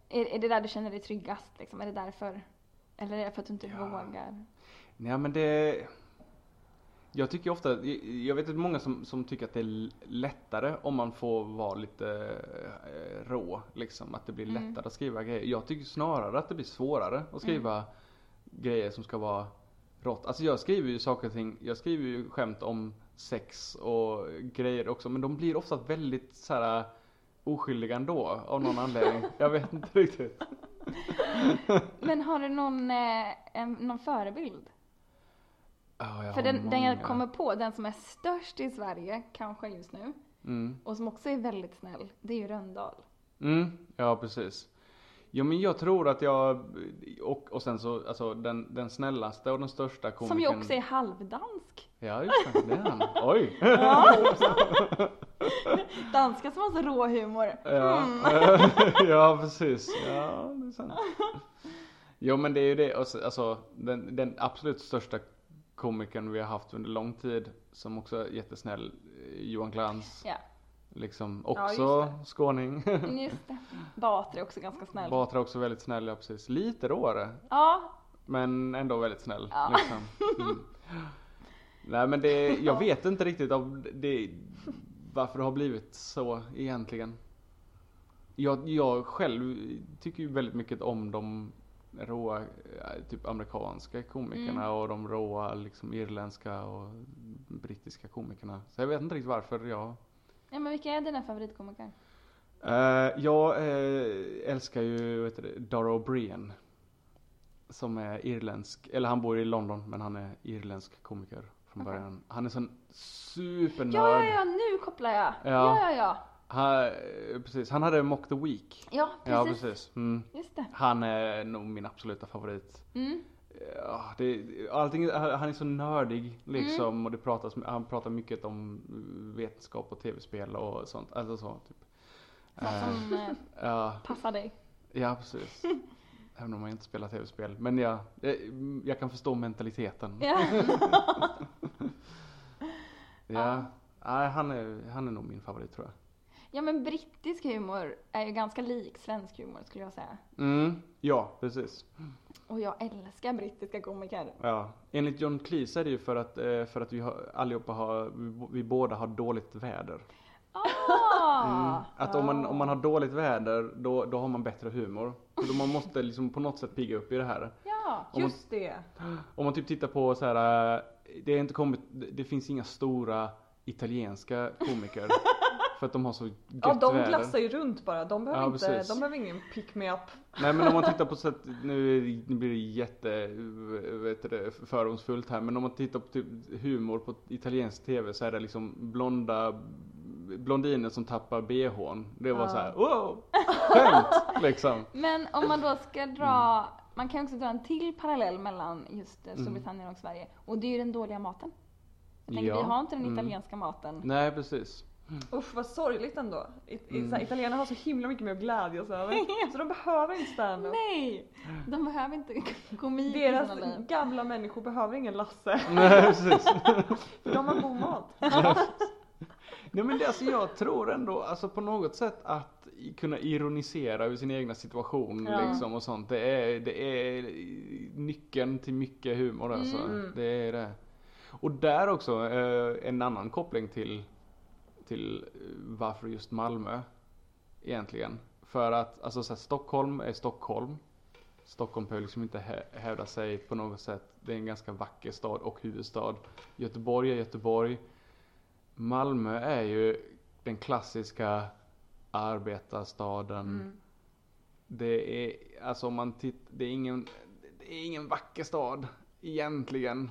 [SPEAKER 2] är det där du känner dig tryggast? Liksom? Är det därför? Eller är det för att du inte
[SPEAKER 4] Ja.
[SPEAKER 2] vågar?
[SPEAKER 4] Nej men det... Jag tycker ofta, jag vet att många som, som tycker att det är lättare om man får vara lite eh, rå. Liksom att det blir
[SPEAKER 2] Mm.
[SPEAKER 4] lättare att skriva grejer. Jag tycker snarare att det blir svårare att skriva
[SPEAKER 2] Mm.
[SPEAKER 4] grejer som ska vara rått. Alltså jag skriver ju saker och ting, jag skriver ju skämt om sex och grejer också. Men de blir ofta väldigt så här oskyldiga ändå av någon anledning. Jag vet inte riktigt.
[SPEAKER 2] Men har du någon, eh, en, någon förebild?
[SPEAKER 4] Ja, jag
[SPEAKER 2] För
[SPEAKER 4] har
[SPEAKER 2] den, den jag
[SPEAKER 4] många.
[SPEAKER 2] kommer på, den som är störst i Sverige kanske just nu
[SPEAKER 4] Mm.
[SPEAKER 2] och som också är väldigt snäll, det är ju Rönndahl.
[SPEAKER 4] Mm, ja precis. Jo men jag tror att jag, och, och sen så, alltså den, den snällaste och den största komikern.
[SPEAKER 2] Som ju också är halvdansk.
[SPEAKER 4] Ja just det, det är han. Oj!
[SPEAKER 2] Danska som har så rå humor.
[SPEAKER 4] Ja,
[SPEAKER 2] Mm.
[SPEAKER 4] ja precis. Ja, det är sant. Jo men det är ju det, Och så- alltså den, den absolut största komikern vi har haft under lång tid som också är jättesnäll, eh, Johan Glans.
[SPEAKER 2] Ja.
[SPEAKER 4] Liksom
[SPEAKER 3] Ja, just
[SPEAKER 4] också skåning.
[SPEAKER 2] Mm, Just det. Batra är också ganska snäll.
[SPEAKER 4] Batra också väldigt snäll, ja precis. Lite råare
[SPEAKER 2] Ja,
[SPEAKER 4] Men ändå väldigt snäll.
[SPEAKER 2] Ja.
[SPEAKER 4] Liksom. Mm. Nej men det, jag vet inte riktigt om det, varför det har blivit så egentligen. Jag, jag själv tycker ju väldigt mycket om de råa, eh, typ amerikanska komikerna och de råa liksom irländska och brittiska komikerna. Så jag vet inte riktigt varför jag
[SPEAKER 2] ja men vilka är dina favoritkomiker?
[SPEAKER 4] Eh, jag eh, älskar ju vad heter det, Dara O'Brien. Som är irländsk, eller han bor i London men han är irländsk komiker från
[SPEAKER 2] Okej.
[SPEAKER 4] början. Han är sån
[SPEAKER 2] Ja,
[SPEAKER 4] supernörd.
[SPEAKER 2] ja, ja, nu kopplar jag.
[SPEAKER 4] Ja.
[SPEAKER 2] Ja, ja, ja.
[SPEAKER 4] Han, eh, precis, han hade Mock the Week.
[SPEAKER 2] Ja, precis.
[SPEAKER 4] Ja precis. Mm.
[SPEAKER 2] Just det.
[SPEAKER 4] Han är nog min absoluta favorit.
[SPEAKER 2] Mm.
[SPEAKER 4] Ja, det, allting, han är så nördig liksom
[SPEAKER 2] Mm.
[SPEAKER 4] och det pratas, han pratar mycket om mm, vetenskap och tv-spel och sånt. Alltså så, typ.
[SPEAKER 2] Sånt
[SPEAKER 4] Eh,
[SPEAKER 2] som eh,
[SPEAKER 4] ja.
[SPEAKER 2] passar dig.
[SPEAKER 4] Ja, precis. Även om man inte spelar tv-spel. Men jag, eh, jag kan förstå mentaliteten. Ja.
[SPEAKER 2] Ja.
[SPEAKER 4] Nej, han, är, han är nog min favorit tror jag.
[SPEAKER 2] ja, men brittisk humor är ju ganska lik svensk humor skulle jag säga.
[SPEAKER 4] Mm, ja, precis.
[SPEAKER 2] Och jag älskar brittiska komiker.
[SPEAKER 4] Ja. Enligt John Cleese är det ju för att, eh, för att vi har, allihopa har, vi, vi båda har dåligt väder. Mm.
[SPEAKER 2] Ah!
[SPEAKER 4] Att om man, om man har dåligt väder, då, då har man bättre humor. Så då man måste liksom på något sätt pigga upp i det här.
[SPEAKER 2] Ja.
[SPEAKER 4] Om man-
[SPEAKER 3] Just det!
[SPEAKER 4] Om man typ tittar på så här, eh, det, är inte kommit, det det finns inga stora italienska komiker. för att de har så gött
[SPEAKER 3] Ja de
[SPEAKER 4] väder.
[SPEAKER 3] glassar ju runt bara. De behöver,
[SPEAKER 4] Ja,
[SPEAKER 3] inte,
[SPEAKER 4] precis.
[SPEAKER 3] de behöver ingen pick me up.
[SPEAKER 4] Nej men om man tittar på så att, nu nu blir det jätte, vet du det, fördomsfullt här. Men om man tittar på typ humor på italiensk tv så är det liksom blonda blondiner som tappar bhn. Det var
[SPEAKER 3] Ja.
[SPEAKER 4] så här, wow! Skämt! liksom.
[SPEAKER 2] Men om man då ska dra,
[SPEAKER 4] Mm.
[SPEAKER 2] man kan ju också dra en till parallell mellan just eh, Storbritannien och Sverige. Och det är ju den dåliga maten. Jag tänker,
[SPEAKER 4] Ja.
[SPEAKER 2] vi har inte den
[SPEAKER 4] Mm.
[SPEAKER 2] italienska maten.
[SPEAKER 4] Nej precis.
[SPEAKER 3] Usch vad sorgligt ändå. I, i,
[SPEAKER 4] Mm.
[SPEAKER 3] så här, italienarna har så himla mycket mer att glädjas över. Så de behöver inte stand-up.
[SPEAKER 2] Nej! De behöver inte komik i
[SPEAKER 3] Deras
[SPEAKER 2] sina liv.
[SPEAKER 3] gamla människor behöver ingen Lasse.
[SPEAKER 4] Nej precis.
[SPEAKER 3] För de har god mat.
[SPEAKER 4] Nej men det, alltså, jag tror ändå alltså, på något sätt att i- kunna ironisera över sin egna situation
[SPEAKER 3] Ja.
[SPEAKER 4] liksom, och sånt. Det är, det är nyckeln till mycket humor alltså.
[SPEAKER 3] Mm.
[SPEAKER 4] Det är det. Och där också eh, en annan koppling till, till eh, varför just Malmö egentligen. För att alltså, så här, Stockholm är Stockholm. Stockholm behöver liksom inte hä- hävda sig på något sätt. Det är en ganska vacker stad och huvudstad. Göteborg är Göteborg. Malmö är ju den klassiska arbetarstaden.
[SPEAKER 5] Mm.
[SPEAKER 3] Mm.
[SPEAKER 4] Det är, alltså om man tittar, det är ingen, det är ingen vacker stad egentligen.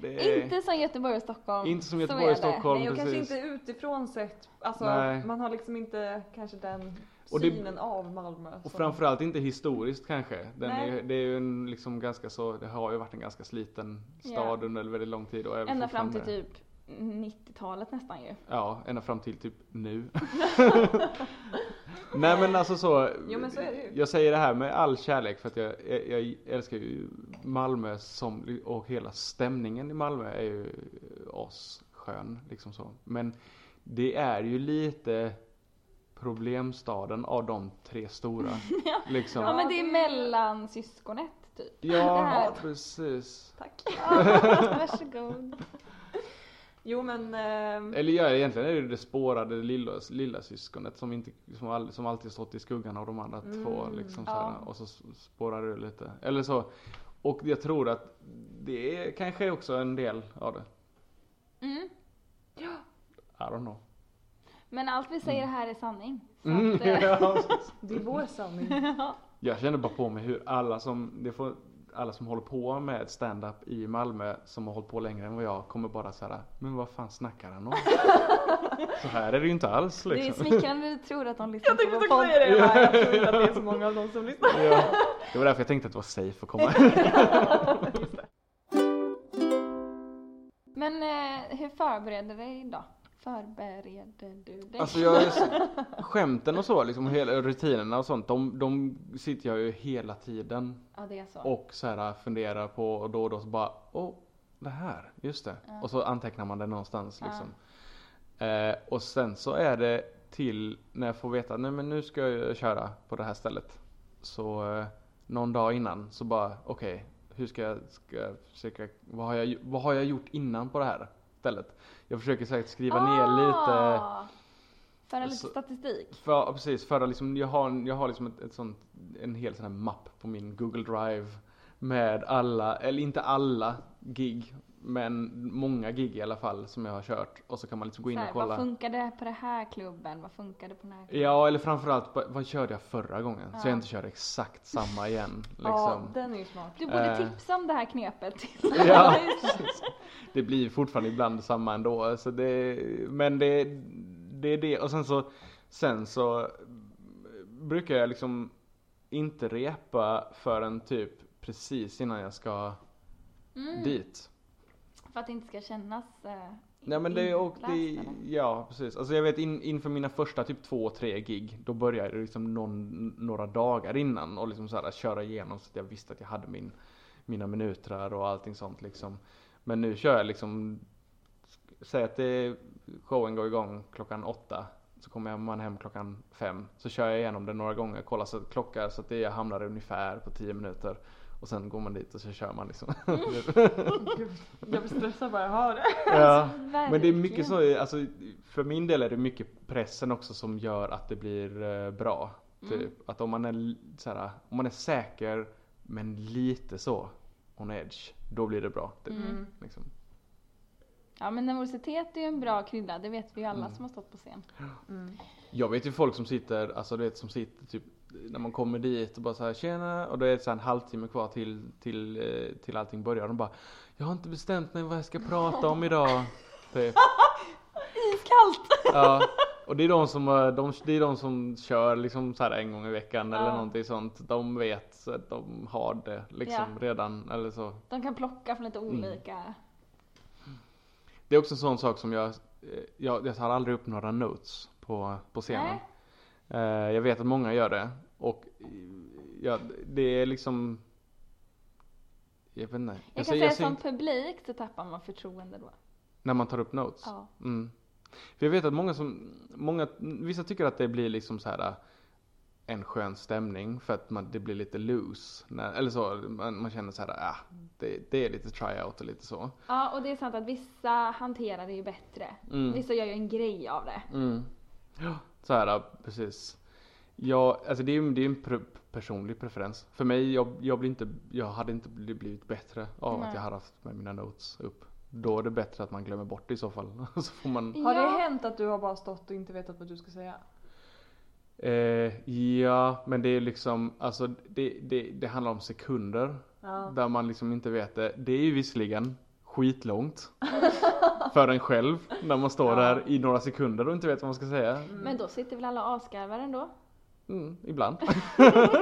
[SPEAKER 4] Det är,
[SPEAKER 2] Inte som Göteborg och Stockholm.
[SPEAKER 4] Eh, inte som
[SPEAKER 2] Så
[SPEAKER 4] Göteborg
[SPEAKER 2] är
[SPEAKER 4] och
[SPEAKER 2] det.
[SPEAKER 4] Stockholm
[SPEAKER 3] Nej och kanske
[SPEAKER 4] precis.
[SPEAKER 3] inte utifrån sett. Alltså
[SPEAKER 4] Nej.
[SPEAKER 3] man har liksom inte kanske den
[SPEAKER 4] Och det-
[SPEAKER 3] synen av Malmö.
[SPEAKER 4] Och
[SPEAKER 3] som-
[SPEAKER 4] framförallt inte historiskt kanske. Den
[SPEAKER 3] Nej.
[SPEAKER 4] är, det är ju en liksom ganska så, det har ju varit en ganska sliten stad
[SPEAKER 5] Ja.
[SPEAKER 4] under väldigt lång tid. Och är
[SPEAKER 5] Ända fram till
[SPEAKER 4] fortfarande-
[SPEAKER 5] typ 90-talet nästan ju.
[SPEAKER 4] Ja, ända fram till typ nu. Nej men alltså så.
[SPEAKER 3] Jo, men så är det ju.
[SPEAKER 4] Jag säger det här med all kärlek för att jag, jag, jag älskar ju Malmö som, och hela stämningen i Malmö är ju asskön liksom så. Men det är ju lite problemstaden av de tre stora. liksom.
[SPEAKER 5] Ja, men det är mellan syskonet typ. det
[SPEAKER 4] Ja,
[SPEAKER 5] här.
[SPEAKER 4] precis.
[SPEAKER 3] Tack.
[SPEAKER 5] Varsågod.
[SPEAKER 3] Jo men, ehm,
[SPEAKER 4] Eller ja, egentligen är det ju det spårade lilla, lilla syskonet som, inte, som, all, som alltid stått i skuggan av de andra två. Liksom, så här,
[SPEAKER 5] Mm, ja.
[SPEAKER 4] Och så s- spårar det lite. Eller så. Och jag tror att det är kanske är också en del av det.
[SPEAKER 5] Mm.
[SPEAKER 4] I don't know.
[SPEAKER 5] Men allt vi säger här är sanning. Så
[SPEAKER 4] Mm,
[SPEAKER 5] att, eh,
[SPEAKER 4] ja.
[SPEAKER 3] det är vår sanning.
[SPEAKER 4] Jag känner bara på mig hur alla som, det får, alla som håller på med stand-up i Malmö som har hållit på längre än vad jag kommer bara så här. men vad fan snackar han om? så här är det ju inte alls
[SPEAKER 5] det är
[SPEAKER 4] liksom.
[SPEAKER 5] smickrande att du tror att de lyssnar
[SPEAKER 3] Jag
[SPEAKER 5] på
[SPEAKER 3] tänkte
[SPEAKER 5] vår
[SPEAKER 3] också
[SPEAKER 5] podd.
[SPEAKER 3] säga det, jag bara, jag tror inte att det är så många av dem som lyssnar.
[SPEAKER 4] Ja. Det var därför jag tänkte att det var safe att komma.
[SPEAKER 5] Men eh, hur förbereder dig då? Förbereder du dig?
[SPEAKER 4] Alltså jag, är så- skämten och så liksom, och hela rutinerna och sånt, de, de sitter jag ju hela tiden
[SPEAKER 5] ja, det är så.
[SPEAKER 4] och så här funderar på och då och då så bara, åh, det här, just det. Och så antecknar man det någonstans liksom. Eh, och sen så är det till när jag får veta, nej men nu ska jag ju köra på det här stället. Så eh, någon dag innan så bara, okej, hur ska jag, ska jag försöka, vad har jag, gj- vad har jag gjort innan på det här stället? Jag försöker säkert skriva
[SPEAKER 5] Ah!
[SPEAKER 4] ner
[SPEAKER 2] Ah!
[SPEAKER 4] lite Alltså,
[SPEAKER 5] Föra lite
[SPEAKER 4] Så-
[SPEAKER 5] statistik.
[SPEAKER 4] för, ja, precis, förra liksom, jag har, en- jag har liksom ett, ett sånt, en hel sån här mapp på min Google Drive med alla, eller inte alla gig, men många gig i alla fall som jag har kört och så kan man liksom gå in
[SPEAKER 5] Så
[SPEAKER 4] och
[SPEAKER 5] här, vad
[SPEAKER 4] kolla.
[SPEAKER 5] funkade på den här klubben? Vad funkade på den här klubben?
[SPEAKER 4] Ja, eller framförallt, vad, vad körde jag förra gången? Så jag inte kör exakt samma igen.
[SPEAKER 3] Ja,
[SPEAKER 4] Liksom.
[SPEAKER 3] den är ju smart.
[SPEAKER 5] Du borde
[SPEAKER 4] Eh.
[SPEAKER 5] tipsa om det här knepet till
[SPEAKER 4] Ja, precis. det blir fortfarande ibland samma ändå. Så det, men det, det är det. Och sen så, sen så brukar jag liksom inte repa förrän typ precis innan jag ska
[SPEAKER 2] Mm.
[SPEAKER 4] dit.
[SPEAKER 5] Mm. För att det inte ska kännas... Eh,
[SPEAKER 4] Nej men det, och det,
[SPEAKER 5] inläst, eller?
[SPEAKER 4] ja precis. Alltså jag vet in, inför mina första typ två, tre gig, då började jag liksom någon, några dagar innan och liksom så här, köra igenom så att jag visste att jag hade min, mina minuter och allting sånt liksom. Men nu kör jag liksom, säg att det, showen går igång klockan åtta, så kommer jag- man hem klockan fem. Så kör jag igenom det några gånger, kollar så att klockan, så att det hamnar ungefär på tio minuter. Och sen går man dit och så kör man liksom.
[SPEAKER 3] Gud, jag blir stressad bara jag hör det.
[SPEAKER 4] ja. Men det är
[SPEAKER 5] Verkligen.
[SPEAKER 4] mycket så, alltså, för min del är det mycket pressen också som gör att det blir eh, bra. Typ.
[SPEAKER 2] Mm.
[SPEAKER 4] Att om man, är, l- så här, om man är säker men lite så on edge, då blir det bra.
[SPEAKER 5] Mm.
[SPEAKER 2] Mm.
[SPEAKER 4] Typ. Liksom.
[SPEAKER 5] Ja men nervositet är ju en bra krydda, det vet vi ju alla som har stått på scen.
[SPEAKER 4] Jag vet ju folk som sitter, alltså du vet som sitter typ när man kommer dit och bara så här tjena och då är det så här en halvtimme kvar till, till, eh, till allting börjar. De bara Jag har inte bestämt mig vad jag ska prata om idag. Typ.
[SPEAKER 5] Iskallt!
[SPEAKER 4] Ja, och det är de som, eh, de, det är de som kör liksom så här en gång i veckan eller
[SPEAKER 5] Ja.
[SPEAKER 4] någonting sånt. De vet så att de har det liksom redan eller så.
[SPEAKER 5] De kan plocka från lite olika...
[SPEAKER 4] Det är också en sån sak som jag, eh, jag, jag tar aldrig upp några notes på, på scenen.
[SPEAKER 5] Nej.
[SPEAKER 4] Eh, jag vet att många gör det och eh, ja, det är liksom jag vet inte.
[SPEAKER 5] Jag
[SPEAKER 4] ser-
[SPEAKER 5] kan säga
[SPEAKER 4] ser
[SPEAKER 5] som
[SPEAKER 4] inte-
[SPEAKER 5] publik så tappar man förtroende då.
[SPEAKER 4] När man tar upp notes?
[SPEAKER 5] Ja.
[SPEAKER 4] Mm. För jag vet att många som, många, vissa tycker att det blir liksom så här äh, en skön stämning för att man, det blir lite loose. När, eller så, man, man känner så här, ah, det, det är lite tryout och lite så.
[SPEAKER 5] Ja och det är sant att vissa hanterar det ju bättre. Vissa gör ju en grej av det.
[SPEAKER 4] Mm. Ja, så här, äh, precis. Ja, alltså det är ju det är ju en pr- personlig preferens. För mig, jag, jag, blir inte, jag hade inte bli- blivit bättre av
[SPEAKER 5] Nej.
[SPEAKER 4] att jag hade haft med mina notes upp. Då är det bättre att man glömmer bort det i så fall. så får man...
[SPEAKER 3] Har
[SPEAKER 5] Ja.
[SPEAKER 3] det hänt att du har bara stått och inte vetat vad du ska säga?
[SPEAKER 4] Eh, ja, men det är liksom, alltså det, det, det handlar om sekunder.
[SPEAKER 3] Ja.
[SPEAKER 4] Där man liksom inte vet det. Det är ju visserligen skitlångt. för en själv. När man står där i några sekunder och inte vet vad man ska säga.
[SPEAKER 5] Men då sitter väl alla avskarvar ändå?
[SPEAKER 4] Mm, ibland.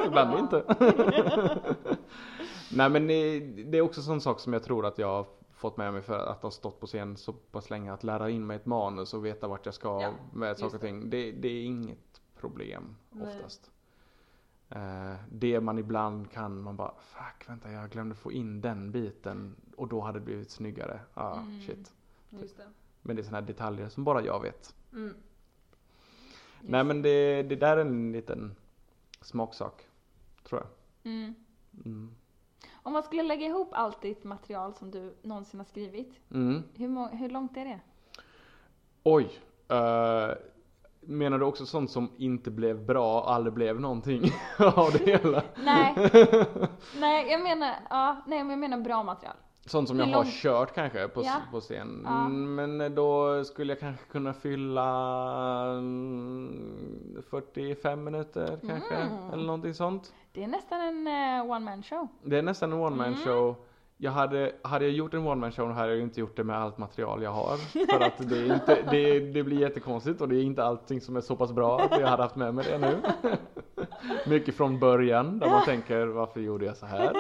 [SPEAKER 4] ibland inte. Nej men eh, det är också sån sak som jag tror att jag har fått med mig för att ha stått på scen så pass länge. Att lära in mig ett manus och veta vart jag ska
[SPEAKER 3] Ja,
[SPEAKER 4] med saker
[SPEAKER 3] just
[SPEAKER 4] och ting. Det, det är inget problem
[SPEAKER 3] Nej.
[SPEAKER 4] oftast. Eh, det man ibland kan, man bara fuck vänta jag glömde få in den biten och då hade det blivit snyggare. Ah,
[SPEAKER 3] Mm.
[SPEAKER 4] shit.
[SPEAKER 3] Just det.
[SPEAKER 4] Men det är såna här detaljer som bara jag vet.
[SPEAKER 3] Mm.
[SPEAKER 4] Nej men det, det där är en liten smaksak. Tror jag.
[SPEAKER 2] Mm.
[SPEAKER 4] Mm.
[SPEAKER 2] Om man skulle lägga ihop allt ditt material som du någonsin har skrivit,
[SPEAKER 4] Mm.
[SPEAKER 2] hur, må- hur långt är det?
[SPEAKER 4] Oj. eh, menar du också sånt som inte blev bra och aldrig blev någonting av det hela?
[SPEAKER 2] Nej, nej, jag menar, ja, nej, men jag menar bra material.
[SPEAKER 4] Sånt som
[SPEAKER 2] Hur
[SPEAKER 4] jag har
[SPEAKER 2] långt-
[SPEAKER 4] kört kanske på, s-
[SPEAKER 2] Ja.
[SPEAKER 4] på scen.
[SPEAKER 2] Ja.
[SPEAKER 4] Mm, Men då skulle jag kanske kunna fylla mm, 45 minuter kanske.
[SPEAKER 2] Mm.
[SPEAKER 4] Eller någonting sånt.
[SPEAKER 2] Det är nästan en eh, one man show.
[SPEAKER 4] Det är nästan en one man
[SPEAKER 3] Mm.
[SPEAKER 4] show. Jag hade, hade jag gjort en one man show hade jag ju inte gjort det med allt material jag har. För att det, är inte, det, det blir jättekonstigt och det är inte allting som är så pass bra att jag hade haft med mig det nu. Mycket från början där man tänker varför gjorde jag så här?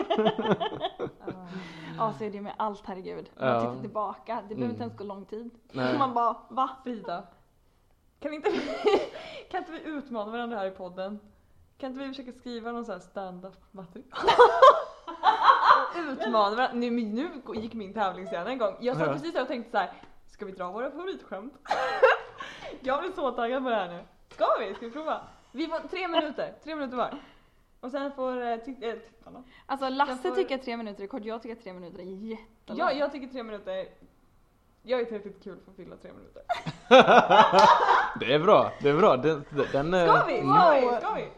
[SPEAKER 2] Ja, så är det ju med allt, herregud. När
[SPEAKER 4] Ja.
[SPEAKER 2] man tittar tillbaka, det behöver
[SPEAKER 4] Mm.
[SPEAKER 2] inte ens gå lång tid.
[SPEAKER 4] Nej.
[SPEAKER 3] Man bara, va Frida? Kan inte, vi, kan inte vi utmana varandra här i podden? Kan inte vi försöka skriva någon sån här stand-up material? utmana varandra. Nu, men nu gick min tävlingshjärna igång. Jag satt
[SPEAKER 4] Ja.
[SPEAKER 3] precis där och tänkte så här. ska vi dra våra favoritskämt? jag blir så taggad på det här nu. Ska vi? Ska vi prova? Vi får tre minuter, tre minuter var. Och sen får eh, titt- eh, tittarna.
[SPEAKER 2] Alltså Lasse
[SPEAKER 3] Jag får-
[SPEAKER 2] tycker att tre minuter är kort, jag tycker att tre minuter är jättelångt.
[SPEAKER 3] Ja, jag tycker tre minuter, jag är tillräckligt kul för att fylla tre minuter.
[SPEAKER 4] Det är bra, det är bra. Den, den är...
[SPEAKER 3] Ska vi?
[SPEAKER 4] Mm.
[SPEAKER 3] Ska vi? Ska vi?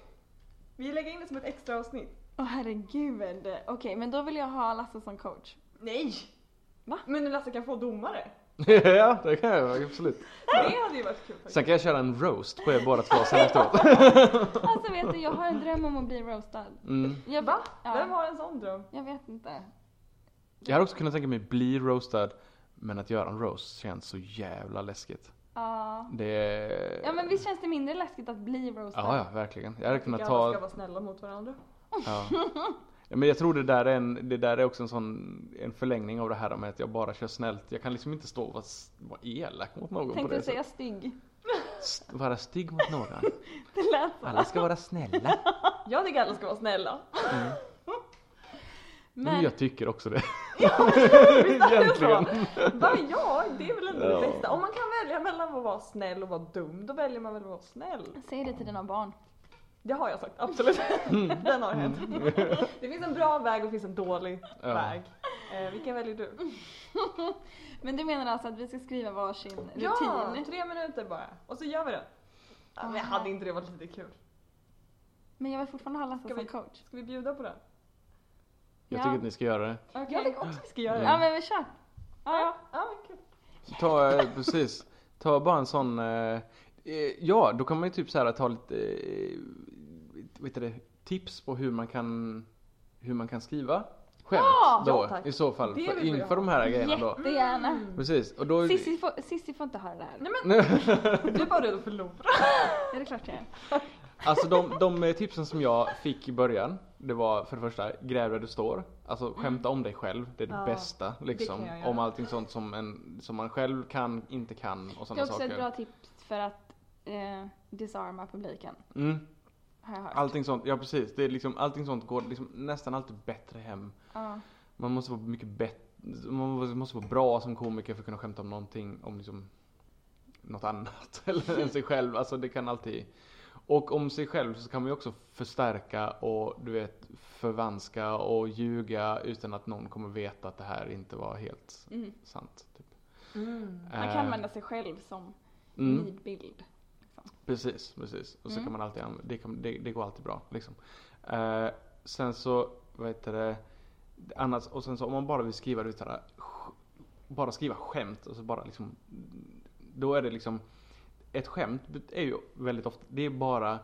[SPEAKER 3] Vi lägger in det som ett extra avsnitt.
[SPEAKER 2] Åh herregud. Okej, men då vill jag ha Lasse som coach.
[SPEAKER 3] Nej!
[SPEAKER 2] Va?
[SPEAKER 3] Men nu Lasse kan få domare.
[SPEAKER 4] ja, det kan jag absolut.
[SPEAKER 3] Det hade ju varit kul faktiskt.
[SPEAKER 4] Sen kan jag köra en roast på er båda två sen efteråt.
[SPEAKER 2] Alltså vet du, jag har en dröm om att bli roastad.
[SPEAKER 4] Mm.
[SPEAKER 2] Jag,
[SPEAKER 3] Va? Vem
[SPEAKER 2] Ja,
[SPEAKER 3] har en sån dröm?
[SPEAKER 2] jag vet inte.
[SPEAKER 4] Jag hade också kunnat tänka mig bli roastad, men att göra en roast känns så jävla läskigt.
[SPEAKER 2] Ja.
[SPEAKER 4] Det är...
[SPEAKER 2] ja, men visst känns det mindre läskigt att bli roastad?
[SPEAKER 4] Ja, ja, verkligen. Jag hade
[SPEAKER 3] Tycker
[SPEAKER 4] kunnat
[SPEAKER 3] alla
[SPEAKER 4] ta...
[SPEAKER 3] ska vara snälla mot varandra.
[SPEAKER 4] Ja. Ja, Men jag tror det där är, en, det där är också en sån en förlängning av det här med att jag bara kör snällt. Jag kan liksom inte stå och vara, s- vara elak mot någon på
[SPEAKER 2] Tänkte
[SPEAKER 4] det
[SPEAKER 2] du säga stygg?
[SPEAKER 4] sättet. Vara stygg mot någon.
[SPEAKER 2] Det lät så.
[SPEAKER 4] Alla ska vara snälla.
[SPEAKER 3] Jag tycker alla ska vara snälla.
[SPEAKER 4] Men
[SPEAKER 2] Men
[SPEAKER 4] jag tycker också det.
[SPEAKER 3] Egentligen. Va? Ja, det är väl ändå
[SPEAKER 4] Ja.
[SPEAKER 3] det bästa. Om man kan välja mellan att vara snäll och vara dum, då väljer man väl att vara snäll.
[SPEAKER 2] säg det till dina barn.
[SPEAKER 3] Det har jag sagt, absolut. Den har hänt. Det finns en bra väg och det finns en dålig
[SPEAKER 4] Ja.
[SPEAKER 3] väg. Eh, vilken väljer du?
[SPEAKER 2] Men du menar alltså att vi ska skriva varsin
[SPEAKER 3] Ja,
[SPEAKER 2] rutin?
[SPEAKER 3] tre minuter bara. Och så gör vi det. Ja, men hade inte det varit lite kul?
[SPEAKER 2] Men jag vill fortfarande ha Lasse
[SPEAKER 3] Ska
[SPEAKER 2] som
[SPEAKER 3] vi-
[SPEAKER 2] coach.
[SPEAKER 3] Ska vi bjuda på det?
[SPEAKER 4] Jag
[SPEAKER 2] Ja.
[SPEAKER 4] tycker att ni ska göra det.
[SPEAKER 3] Jag tycker också vi ska göra det.
[SPEAKER 2] Ja, men vi kör.
[SPEAKER 3] Ja, ja. ja men kul.
[SPEAKER 4] Ta, eh, precis. Ta bara en sån, eh, eh, ja då kan man ju typ så här ta lite, eh, vet du det, tips på hur man kan, hur man kan skriva skämt
[SPEAKER 2] Ja,
[SPEAKER 4] då
[SPEAKER 3] Ah, ja, tack.
[SPEAKER 4] i så fall.
[SPEAKER 3] Det
[SPEAKER 4] För,
[SPEAKER 3] vill vi
[SPEAKER 4] inför
[SPEAKER 3] ha.
[SPEAKER 4] de här grejerna då.
[SPEAKER 2] Jättegärna.
[SPEAKER 4] Precis, och då...
[SPEAKER 2] Sissi får, Sissi får inte höra det här.
[SPEAKER 3] Mm. Nej men du är bara rädd att förlora.
[SPEAKER 2] Är det klart jag är?
[SPEAKER 4] Alltså de, de eh, tipsen som jag fick i början, det var för det första, gräv där du står. Alltså skämta om dig själv, det är det
[SPEAKER 3] Mm. Ja,
[SPEAKER 4] bästa liksom.
[SPEAKER 3] kan jag göra.
[SPEAKER 4] Om allting sånt som, en, som man själv kan, inte kan och
[SPEAKER 2] Det är
[SPEAKER 4] sådana
[SPEAKER 2] också
[SPEAKER 4] saker.
[SPEAKER 2] ett bra tips för att eh, disarma publiken.
[SPEAKER 4] Mm.
[SPEAKER 2] Har jag hört.
[SPEAKER 4] Allting sånt, ja precis. Det är liksom, allting sånt går liksom nästan alltid bättre hem.
[SPEAKER 2] Ja.
[SPEAKER 4] Man måste vara mycket bättre, man måste- måste vara bra som komiker för att kunna skämta om någonting, om liksom något annat eller än sig själv. Alltså det kan alltid. Och om sig själv så kan man ju också förstärka och du vet förvanska och ljuga utan att någon kommer veta att det här inte var helt
[SPEAKER 2] Mm.
[SPEAKER 4] sant. Typ.
[SPEAKER 3] Mm.
[SPEAKER 2] Man kan
[SPEAKER 4] Eh,
[SPEAKER 2] använda sig själv som
[SPEAKER 4] mm.
[SPEAKER 2] nidbild.
[SPEAKER 4] Precis, precis. Och så
[SPEAKER 2] Mm.
[SPEAKER 4] kan man alltid använda, det, kan, det, det går alltid bra liksom. Eh, sen så, vad heter det, annars, och sen så om man bara vill skriva det utan att sk- bara skriva skämt och så bara liksom, då är det liksom, ett skämt är ju väldigt ofta, det är bara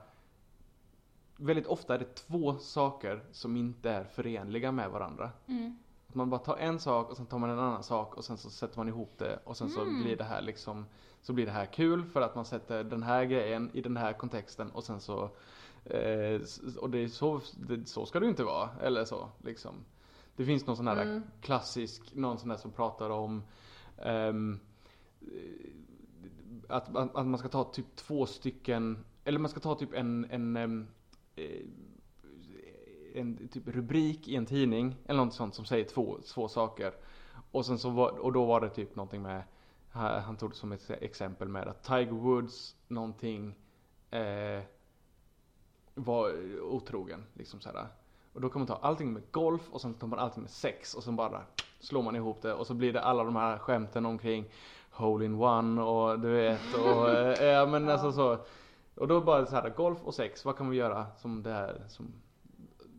[SPEAKER 4] Väldigt ofta är det två saker som inte är förenliga med varandra.
[SPEAKER 2] Mm.
[SPEAKER 4] Att man bara tar en sak och sen tar man en annan sak och sen så sätter man ihop det och sen så
[SPEAKER 2] Mm.
[SPEAKER 4] blir det här liksom Så blir det här kul för att man sätter den här grejen i den här kontexten och sen så Eh, s- och det är så, det, så ska det ju inte vara. Eller så liksom. Det finns någon sån här
[SPEAKER 3] Mm.
[SPEAKER 4] klassisk, någon sån här som pratar om ehm, att, att, att man ska ta typ två stycken, eller man ska ta typ en, en, ehm, eh, en typ rubrik i en tidning eller något sånt som säger två, två saker. Och, sen så var, och då var det typ någonting med, han han tog det som ett exempel med att Tiger Woods någonting eh, var otrogen. Liksom så här. Och då kan man ta allting med golf och sen tar man allting med sex och sen bara slår man ihop det och så blir det alla de här skämten omkring hole-in-one och du vet och eh, ja men alltså så. Och då bara så här golf och sex, vad kan vi göra som det här som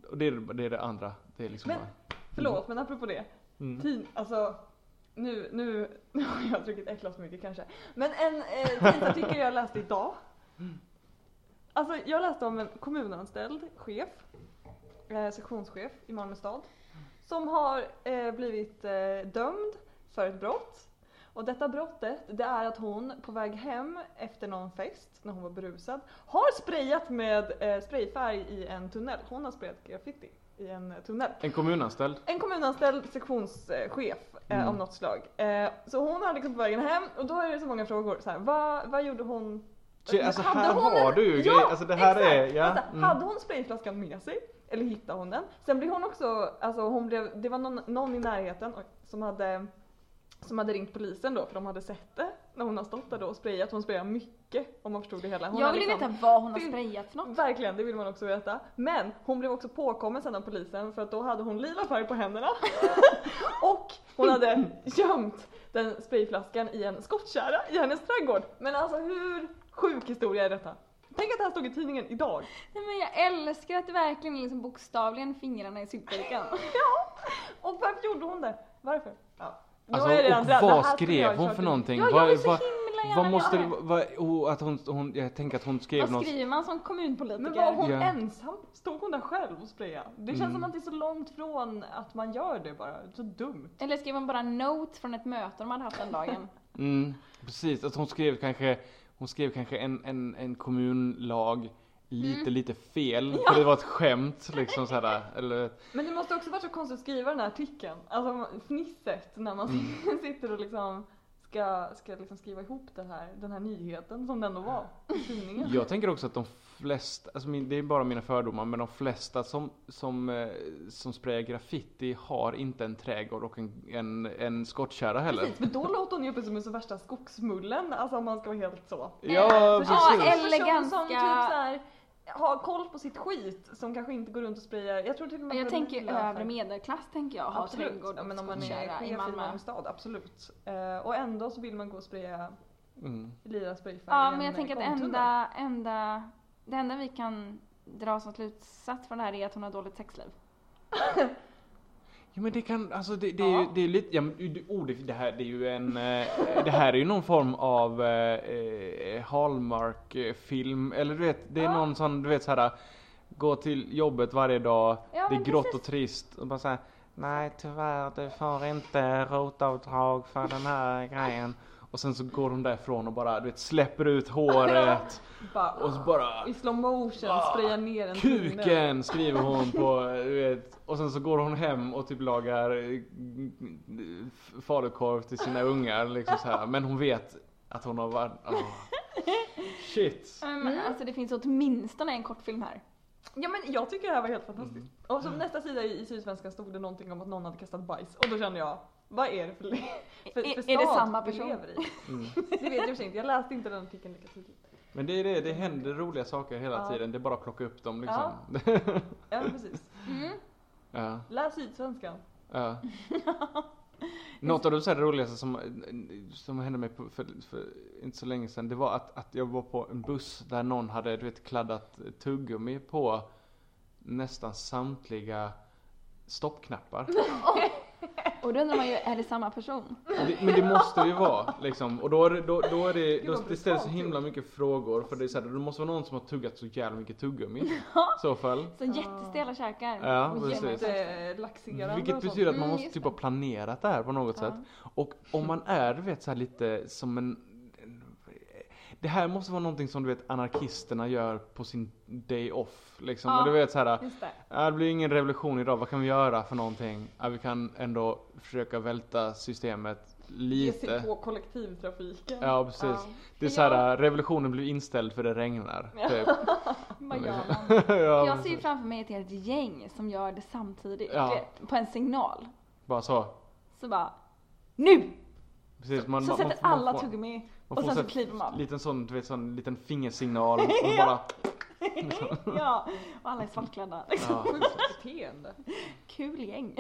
[SPEAKER 4] och det är det, är det andra. Det är liksom
[SPEAKER 3] Men-
[SPEAKER 4] bara,
[SPEAKER 3] Förlåt men apropå det.
[SPEAKER 4] Mm.
[SPEAKER 3] Tid, alltså. Nu, nu, nu har jag druckit ett glas för mycket kanske. Men en eh, tidningsartikel jag läste idag. Alltså jag läste om en kommunanställd chef. Eh, sektionschef i Malmö stad. Som har eh, blivit eh, dömd för ett brott. Och detta brottet det är att hon på väg hem efter någon fest när hon var berusad har sprayat med eh, sprayfärg i en tunnel. Hon har sprayat graffiti i en eh, tunnel.
[SPEAKER 4] en kommunanställd.
[SPEAKER 3] En kommunanställd sektionschef eh,
[SPEAKER 4] Mm.
[SPEAKER 3] av något slag. Eh, så hon har liksom på vägen hem och då är det så många frågor. Så här, vad, vad gjorde hon?
[SPEAKER 4] Tje, alltså
[SPEAKER 3] Hade
[SPEAKER 4] här
[SPEAKER 3] hon
[SPEAKER 4] har
[SPEAKER 3] en-
[SPEAKER 4] du ju
[SPEAKER 3] ja,
[SPEAKER 4] grejer. Alltså det här
[SPEAKER 3] exakt.
[SPEAKER 4] är, ja.
[SPEAKER 3] Vänta,
[SPEAKER 4] Mm.
[SPEAKER 3] Hade hon sprayflaskan med sig? Eller hittade hon den? Sen blev hon också, alltså hon blev, det var någon, någon i närheten oj, som hade som hade ringt polisen då för de hade sett det när hon har stått där då och sprayat. Hon sprayar mycket om man förstod det hela. Hon
[SPEAKER 5] Jag
[SPEAKER 3] har
[SPEAKER 5] vill ju
[SPEAKER 3] liksom-
[SPEAKER 5] veta vad hon har
[SPEAKER 3] Fy-
[SPEAKER 5] sprayat för något.
[SPEAKER 3] Verkligen, det vill man också veta. Men hon blev också påkommen sen av polisen för att då hade hon lila färg på händerna. och hon hade gömt den sprayflaskan i en skottkärra i hennes trädgård. Men alltså hur sjuk historia är detta? Tänk att det här stod i tidningen idag.
[SPEAKER 5] Nej, men jag älskar att det verkligen är liksom bokstavligen fingrarna i syltburken.
[SPEAKER 3] Och varför gjorde hon det? Varför? Ja. Nu har jag
[SPEAKER 4] Alltså,
[SPEAKER 3] redan
[SPEAKER 4] och
[SPEAKER 3] dragit- det här
[SPEAKER 4] vad
[SPEAKER 3] skulle jag ha
[SPEAKER 4] skrev hon
[SPEAKER 3] kört
[SPEAKER 4] för
[SPEAKER 3] i-
[SPEAKER 4] någonting?
[SPEAKER 5] Ja, jag
[SPEAKER 4] vad,
[SPEAKER 5] vill så
[SPEAKER 4] vad,
[SPEAKER 5] himla gärna
[SPEAKER 4] vad måste det,
[SPEAKER 5] göra det.
[SPEAKER 4] vad, oh, att hon, hon, jag tänker att hon skrev
[SPEAKER 5] Vad
[SPEAKER 4] något.
[SPEAKER 5] skriver man som kommunpolitiker?
[SPEAKER 3] Men var hon
[SPEAKER 4] Ja.
[SPEAKER 3] ensam? Stod hon där själv och sprayade? Det känns
[SPEAKER 4] Mm.
[SPEAKER 3] som att det är så långt från att man gör det bara. Så dumt.
[SPEAKER 5] Eller skrev hon bara en note från ett möte de hade haft den dagen?
[SPEAKER 4] Mm, precis, att hon skrev kanske, hon skrev kanske en, en, en kommunlag lite, lite fel. För det var ett skämt liksom sådär. Eller,
[SPEAKER 3] Men det måste också vara så konstigt att skriva den här artikeln. Alltså fnisset när man
[SPEAKER 4] Mm.
[SPEAKER 3] sitter och liksom ska, ska liksom skriva ihop det här, den här nyheten som den då var i tidningen.
[SPEAKER 4] jag tänker också att de flesta, alltså min, det är bara mina fördomar, men de flesta som, som, eh, som sprayar graffiti har inte en trädgård och en, en, en skottkärra heller.
[SPEAKER 3] Precis, men då låter hon ju precis som en så värsta skogsmullen, alltså om man ska vara helt så.
[SPEAKER 4] Ja,
[SPEAKER 5] Ja,
[SPEAKER 4] precis.
[SPEAKER 5] eller-
[SPEAKER 3] En person Som typ
[SPEAKER 5] ganska-
[SPEAKER 3] så här, har koll på sitt skit som kanske inte går runt och sprayar. Jag tror till och med
[SPEAKER 5] Jag
[SPEAKER 3] att
[SPEAKER 5] tänker ju
[SPEAKER 3] det är
[SPEAKER 5] övre medelklass tänker jag, ha
[SPEAKER 3] Absolut,
[SPEAKER 5] trädgård
[SPEAKER 3] ja, men om man är
[SPEAKER 5] skottkärra
[SPEAKER 3] chef
[SPEAKER 5] i
[SPEAKER 3] i
[SPEAKER 5] Malmö.
[SPEAKER 3] Malmö stad, absolut. Eh, och ändå så vill man gå och spraya
[SPEAKER 4] Mm.
[SPEAKER 3] lila sprayfärg
[SPEAKER 5] Ja
[SPEAKER 3] i
[SPEAKER 5] men
[SPEAKER 3] en,
[SPEAKER 5] jag
[SPEAKER 3] eh,
[SPEAKER 5] tänker att
[SPEAKER 3] gångtunnel.
[SPEAKER 5] enda, enda, det enda vi kan dra som slutsats från det här är att hon har dåligt sexliv.
[SPEAKER 4] Ja men det kan, alltså det, det är ju det är lite, ja, men, det- oh, det, det här det är ju en, eh, det här är ju någon form av eh, eh, Hallmark-film, eller du vet, det är någon sån, du vet såhär, gå till jobbet varje dag,
[SPEAKER 5] Ja,
[SPEAKER 4] det är
[SPEAKER 5] men
[SPEAKER 4] grått
[SPEAKER 5] precis.
[SPEAKER 4] och trist, och bara såhär, nej tyvärr du får inte rotavdrag för den här grejen. Och sen så går hon därifrån och bara, du vet, släpper ut håret
[SPEAKER 3] Bara,
[SPEAKER 4] och så bara
[SPEAKER 3] I slow motion
[SPEAKER 4] Ah,
[SPEAKER 3] sprayar ner en tunnel.
[SPEAKER 4] Kuken skriver hon på, du vet, och sen så går hon hem och typ lagar eh, falukorv till sina ungar liksom så här. men hon vet att hon har varit, ah. shit.
[SPEAKER 5] Men,
[SPEAKER 3] Mm.
[SPEAKER 5] alltså det finns åtminstone en kortfilm här.
[SPEAKER 3] Ja men jag tycker det här var helt fantastiskt.
[SPEAKER 4] Mm.
[SPEAKER 3] Och som nästa sida i, i Sydsvenskan stod det någonting om att någon hade kastat bajs och då kände jag, vad är det för, le- för, för
[SPEAKER 5] är,
[SPEAKER 3] stad
[SPEAKER 5] är det samma
[SPEAKER 3] vi
[SPEAKER 5] person?
[SPEAKER 3] lever i? Det vet jag i och för sig inte, jag läste inte den artikeln lika tydligt.
[SPEAKER 4] Mm. Men det är det, det händer roliga saker hela
[SPEAKER 3] Ja.
[SPEAKER 4] tiden, det är bara att plocka upp dem liksom. Ja.
[SPEAKER 3] Ja precis.
[SPEAKER 5] Mm.
[SPEAKER 4] ja,
[SPEAKER 3] Läs Sydsvenskan.
[SPEAKER 4] Något av det så här roligaste som, som hände mig på- för, för inte så länge sedan, det var att, att jag var på en buss där någon hade du vet, kladdat tuggummi på nästan samtliga stoppknappar.
[SPEAKER 5] Och då undrar man ju, är det samma person?
[SPEAKER 4] Det, men det måste det ju vara liksom. Och då, är det- då, då är det,
[SPEAKER 3] Gud,
[SPEAKER 4] då,
[SPEAKER 3] vad
[SPEAKER 4] det ställs så
[SPEAKER 3] brutalt
[SPEAKER 4] himla mycket frågor för det är så här, det måste vara någon som har tuggat så jävla mycket tuggummi. I så fall.
[SPEAKER 5] Så jättestela käkar.
[SPEAKER 4] Ja,
[SPEAKER 5] Och
[SPEAKER 4] precis.
[SPEAKER 5] jätte-
[SPEAKER 3] Lite laxerande
[SPEAKER 4] Vilket
[SPEAKER 3] och sånt.
[SPEAKER 4] betyder att man
[SPEAKER 5] Mm,
[SPEAKER 4] måste
[SPEAKER 5] just
[SPEAKER 4] typ
[SPEAKER 5] det.
[SPEAKER 4] ha planerat det här på något sätt. Och om man är, du vet, så här lite som en... en- det här måste vara någonting som du vet anarkisterna gör på sin day off. Liksom.
[SPEAKER 2] Ja.
[SPEAKER 4] Och du vet så här,
[SPEAKER 2] Just det.
[SPEAKER 4] "Ah, det blir ingen revolution idag, vad kan vi göra för någonting? Ja, vi kan ändå försöka välta systemet
[SPEAKER 3] Ge
[SPEAKER 4] lite.
[SPEAKER 3] sig på kollektivtrafiken.
[SPEAKER 4] Ja precis.
[SPEAKER 3] Ja.
[SPEAKER 4] Det är så här, revolutionen blir inställd för det regnar.
[SPEAKER 3] Ja.
[SPEAKER 4] Typ.
[SPEAKER 5] Vad gör man?
[SPEAKER 4] ja,
[SPEAKER 5] Jag ser ju
[SPEAKER 4] precis.
[SPEAKER 5] framför mig ett helt gäng som gör det samtidigt.
[SPEAKER 4] Ja.
[SPEAKER 5] du vet, På en signal.
[SPEAKER 4] Bara så.
[SPEAKER 5] Så bara NU!
[SPEAKER 4] Precis, man,
[SPEAKER 5] Så
[SPEAKER 4] man,
[SPEAKER 5] sätter
[SPEAKER 4] man,
[SPEAKER 5] alla
[SPEAKER 4] man, får-
[SPEAKER 5] tuggummi
[SPEAKER 4] man
[SPEAKER 5] och
[SPEAKER 4] får
[SPEAKER 5] sen så
[SPEAKER 4] här
[SPEAKER 5] kliver man.
[SPEAKER 4] Liten sån, du vet, sån liten fingersignal och bara... liksom.
[SPEAKER 5] Ja, och alla är svartklädda.
[SPEAKER 4] Ja.
[SPEAKER 3] Sjukt beteende.
[SPEAKER 5] Kul gäng.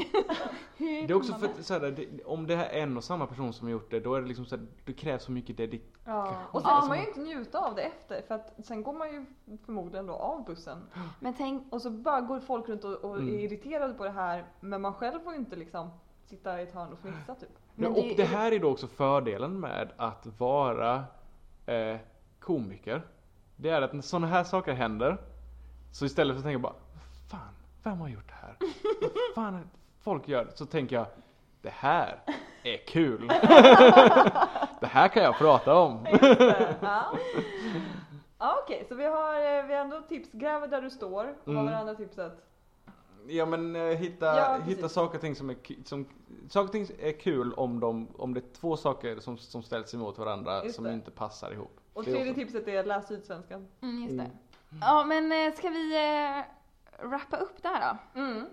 [SPEAKER 4] Det är också för att så här, det, om det här är en och samma person som har gjort det, då är det liksom så här, det krävs så mycket dedikation.
[SPEAKER 3] Ja. Och sen
[SPEAKER 4] Ja.
[SPEAKER 3] får man ju inte njuta av det efter för att sen går man ju förmodligen då av bussen.
[SPEAKER 5] Men tänk,
[SPEAKER 3] Och så bara går folk runt och, och
[SPEAKER 4] Mm.
[SPEAKER 3] är irriterade på det här men man själv får ju inte liksom sitta i ett hörn och fnissa typ.
[SPEAKER 4] Ja,
[SPEAKER 5] Men det är
[SPEAKER 4] och
[SPEAKER 5] ju-
[SPEAKER 4] det här är då också fördelen med att vara eh, komiker. Det är att när sådana här saker händer, så istället för att tänka bara Fan, vem har gjort det här? Vad fan är- folk gör? Så tänker jag Det här är kul! det här kan jag prata om!
[SPEAKER 3] Eh, ja. ja okej, så vi har, eh, vi har ändå tips. Gräv där du står. Och Vad var
[SPEAKER 4] Mm.
[SPEAKER 3] det andra tipset?
[SPEAKER 4] Ja men eh, hitta,
[SPEAKER 3] Ja, precis.
[SPEAKER 4] hitta saker och ting som är, ku- som, saker och ting är kul om, de, om det är två saker som, som ställs emot varandra
[SPEAKER 3] Just
[SPEAKER 4] som
[SPEAKER 3] det.
[SPEAKER 4] inte passar ihop.
[SPEAKER 3] Och
[SPEAKER 4] Det är
[SPEAKER 3] tredje
[SPEAKER 4] ofta-
[SPEAKER 3] tipset är läs Sydsvenskan.
[SPEAKER 5] mm, just det.
[SPEAKER 4] Mm.
[SPEAKER 5] Ja men eh, ska vi eh, wrappa upp det här då?
[SPEAKER 3] Mm.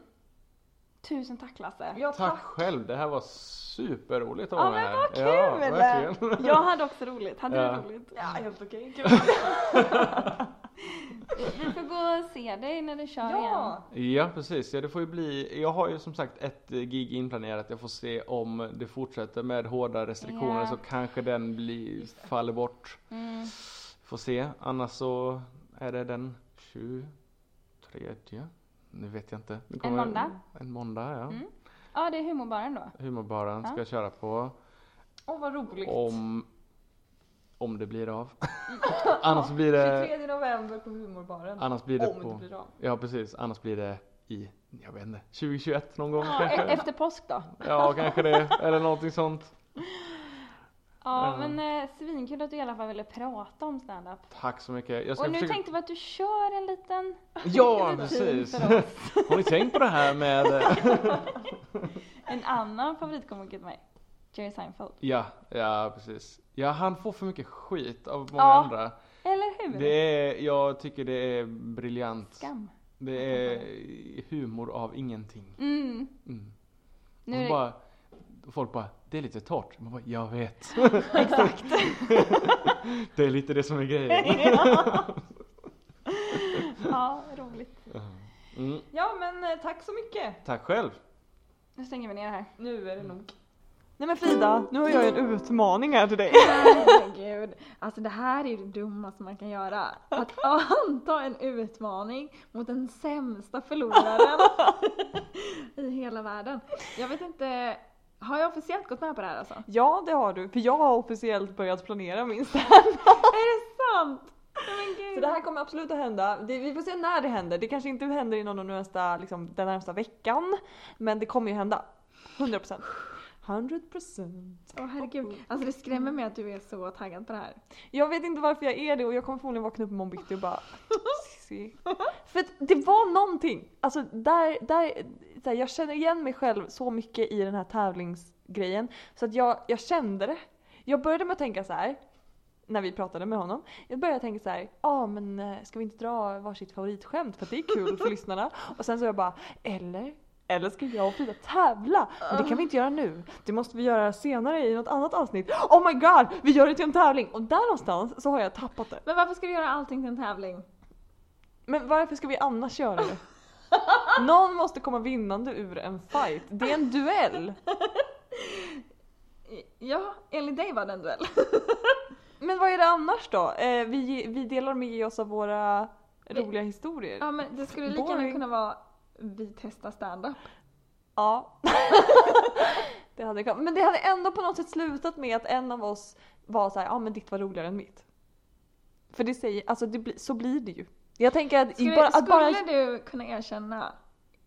[SPEAKER 5] Tusen tack Lasse.
[SPEAKER 3] Ja,
[SPEAKER 4] Tack
[SPEAKER 3] tack.
[SPEAKER 4] själv, det här var superroligt att
[SPEAKER 5] Ja,
[SPEAKER 4] vara
[SPEAKER 5] men
[SPEAKER 4] med.
[SPEAKER 5] vad kul!
[SPEAKER 4] Ja, verkligen.
[SPEAKER 5] Jag hade också roligt. Hade
[SPEAKER 4] Ja.
[SPEAKER 5] du roligt?
[SPEAKER 3] Ja, helt okej.
[SPEAKER 5] Vi får gå och se dig när du kör igen.
[SPEAKER 3] Ja!
[SPEAKER 4] Ja precis, ja, det får ju bli, jag har ju som sagt ett eh, gig inplanerat, jag får se om det fortsätter med hårda restriktioner
[SPEAKER 5] Ja.
[SPEAKER 4] så kanske den blir, faller bort.
[SPEAKER 5] Mm.
[SPEAKER 4] Får se, annars så är det den 23, nu vet jag inte. Nu kommer-
[SPEAKER 5] måndag?
[SPEAKER 4] En måndag ja.
[SPEAKER 5] Mm. Ja, det är humorbaren då.
[SPEAKER 4] Humorbaren ska
[SPEAKER 5] Ja.
[SPEAKER 4] jag köra på
[SPEAKER 3] Åh vad roligt.
[SPEAKER 4] om, om det blir av.
[SPEAKER 5] Mm.
[SPEAKER 4] annars blir det,
[SPEAKER 3] 23 november på Humorbaren.
[SPEAKER 4] annars blir det
[SPEAKER 3] Om det
[SPEAKER 4] på,
[SPEAKER 3] blir av.
[SPEAKER 4] ja precis, annars blir det i, jag vet inte, 2021 någon gång
[SPEAKER 5] Ja, e-
[SPEAKER 4] kanske.
[SPEAKER 5] efter påsk då.
[SPEAKER 4] Ja, kanske det. Eller någonting sånt.
[SPEAKER 5] Ja,
[SPEAKER 4] Ja.
[SPEAKER 5] men eh, svinkul att du i alla fall ville prata om standup.
[SPEAKER 4] Tack så mycket. Jag ska
[SPEAKER 5] Och nu
[SPEAKER 4] försöka...
[SPEAKER 5] tänkte vi att du kör en liten...
[SPEAKER 4] Ja,
[SPEAKER 5] rutin
[SPEAKER 4] precis.
[SPEAKER 5] för oss.
[SPEAKER 4] Har ni tänkt på det här med... eh,
[SPEAKER 5] En annan favoritkomiker till mig. Jerry Seinfeld.
[SPEAKER 4] Ja, ja precis. Ja, han får för mycket skit av många
[SPEAKER 5] Ja.
[SPEAKER 4] andra.
[SPEAKER 5] Eller hur?
[SPEAKER 4] Det är, jag tycker det är briljant.
[SPEAKER 5] Skam.
[SPEAKER 4] Det är humor av ingenting.
[SPEAKER 5] Mm.
[SPEAKER 4] Mm.
[SPEAKER 5] Nu
[SPEAKER 4] och
[SPEAKER 5] är det-
[SPEAKER 4] så bara, folk bara, det är lite torrt. Man bara, jag vet.
[SPEAKER 5] Exakt.
[SPEAKER 4] Det är lite det som är grejen.
[SPEAKER 5] ja, roligt.
[SPEAKER 4] Mm.
[SPEAKER 3] Ja men eh, tack så mycket.
[SPEAKER 4] Tack själv.
[SPEAKER 5] Nu stänger vi ner här.
[SPEAKER 3] Nu är det nog.
[SPEAKER 5] Nej men Frida,
[SPEAKER 3] Nu har jag en utmaning här till dig.
[SPEAKER 2] Herregud. Alltså det här är ju det dummaste man kan göra. Att anta en utmaning mot den sämsta förloraren i hela världen. Jag vet inte, har jag officiellt gått med på det här alltså?
[SPEAKER 3] Ja det har du, för jag har officiellt börjat planera min stand.
[SPEAKER 2] Är det sant? Nej, Men
[SPEAKER 3] Så
[SPEAKER 2] gud.
[SPEAKER 3] det här kommer absolut att hända. Det, vi får se när det händer. Det kanske inte händer inom de nästa, liksom, den närmsta veckan. Men det kommer ju hända. 100%. 100%.
[SPEAKER 2] Åh herregud. Alltså det skrämmer mig att du är så taggad på det här.
[SPEAKER 3] Jag vet inte varför jag är det och jag kommer förmodligen vakna upp imorgon bitti och bara Sissi. För att det var någonting. Alltså där, där, så här, jag känner igen mig själv så mycket i den här tävlingsgrejen. Så att jag, jag kände det. Jag började med att tänka så här. När vi pratade med honom. Jag började tänka så här. Ja ah, men eh, ska vi inte dra varsitt favoritskämt för att det är kul för lyssnarna. Och sen så jag bara. Eller? Eller ska jag och Frida tävla? Men det kan vi inte göra nu. Det måste vi göra senare i något annat avsnitt. Oh my god! Vi gör det till en tävling! Och där någonstans så har jag tappat det.
[SPEAKER 2] Men varför ska du göra allting till en tävling?
[SPEAKER 3] Men varför ska vi annars göra det? Någon måste komma vinnande ur en fight. Det är en duell.
[SPEAKER 2] Ja, enligt dig var det en duell.
[SPEAKER 3] Men vad är det annars då? Eh, vi, vi delar med oss av våra roliga historier.
[SPEAKER 2] Ja men det skulle lika gärna
[SPEAKER 3] Boring.
[SPEAKER 2] kunna vara vi testar standup.
[SPEAKER 3] Ja. det hade kommit. Men det hade ändå på något sätt slutat med att en av oss var så här, ja ah, men ditt var roligare än mitt. För det säger, alltså det blir- så blir det ju. Jag tänker att,
[SPEAKER 2] Skulle,
[SPEAKER 3] bara, att
[SPEAKER 2] skulle
[SPEAKER 3] bara...
[SPEAKER 2] du kunna erkänna,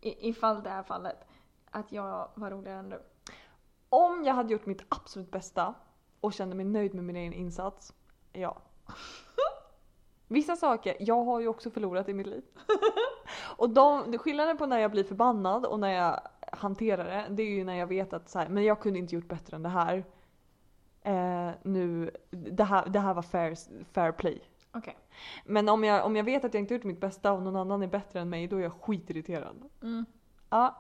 [SPEAKER 2] i, ifall det är fallet, att jag var roligare än du?
[SPEAKER 3] Om jag hade gjort mitt absolut bästa och kände mig nöjd med min egen insats, ja. Vissa saker, jag har ju också förlorat i mitt liv. Och de, skillnaden på när jag blir förbannad och när jag hanterar det, det är ju när jag vet att så här, men jag kunde inte gjort bättre än det här. Eh, nu, det här, det här var fair, fair play.
[SPEAKER 2] Okej.
[SPEAKER 3] Men om jag, om jag vet att jag inte gjort mitt bästa och någon annan är bättre än mig, då är jag skitirriterad.
[SPEAKER 2] Mm.
[SPEAKER 3] Ja.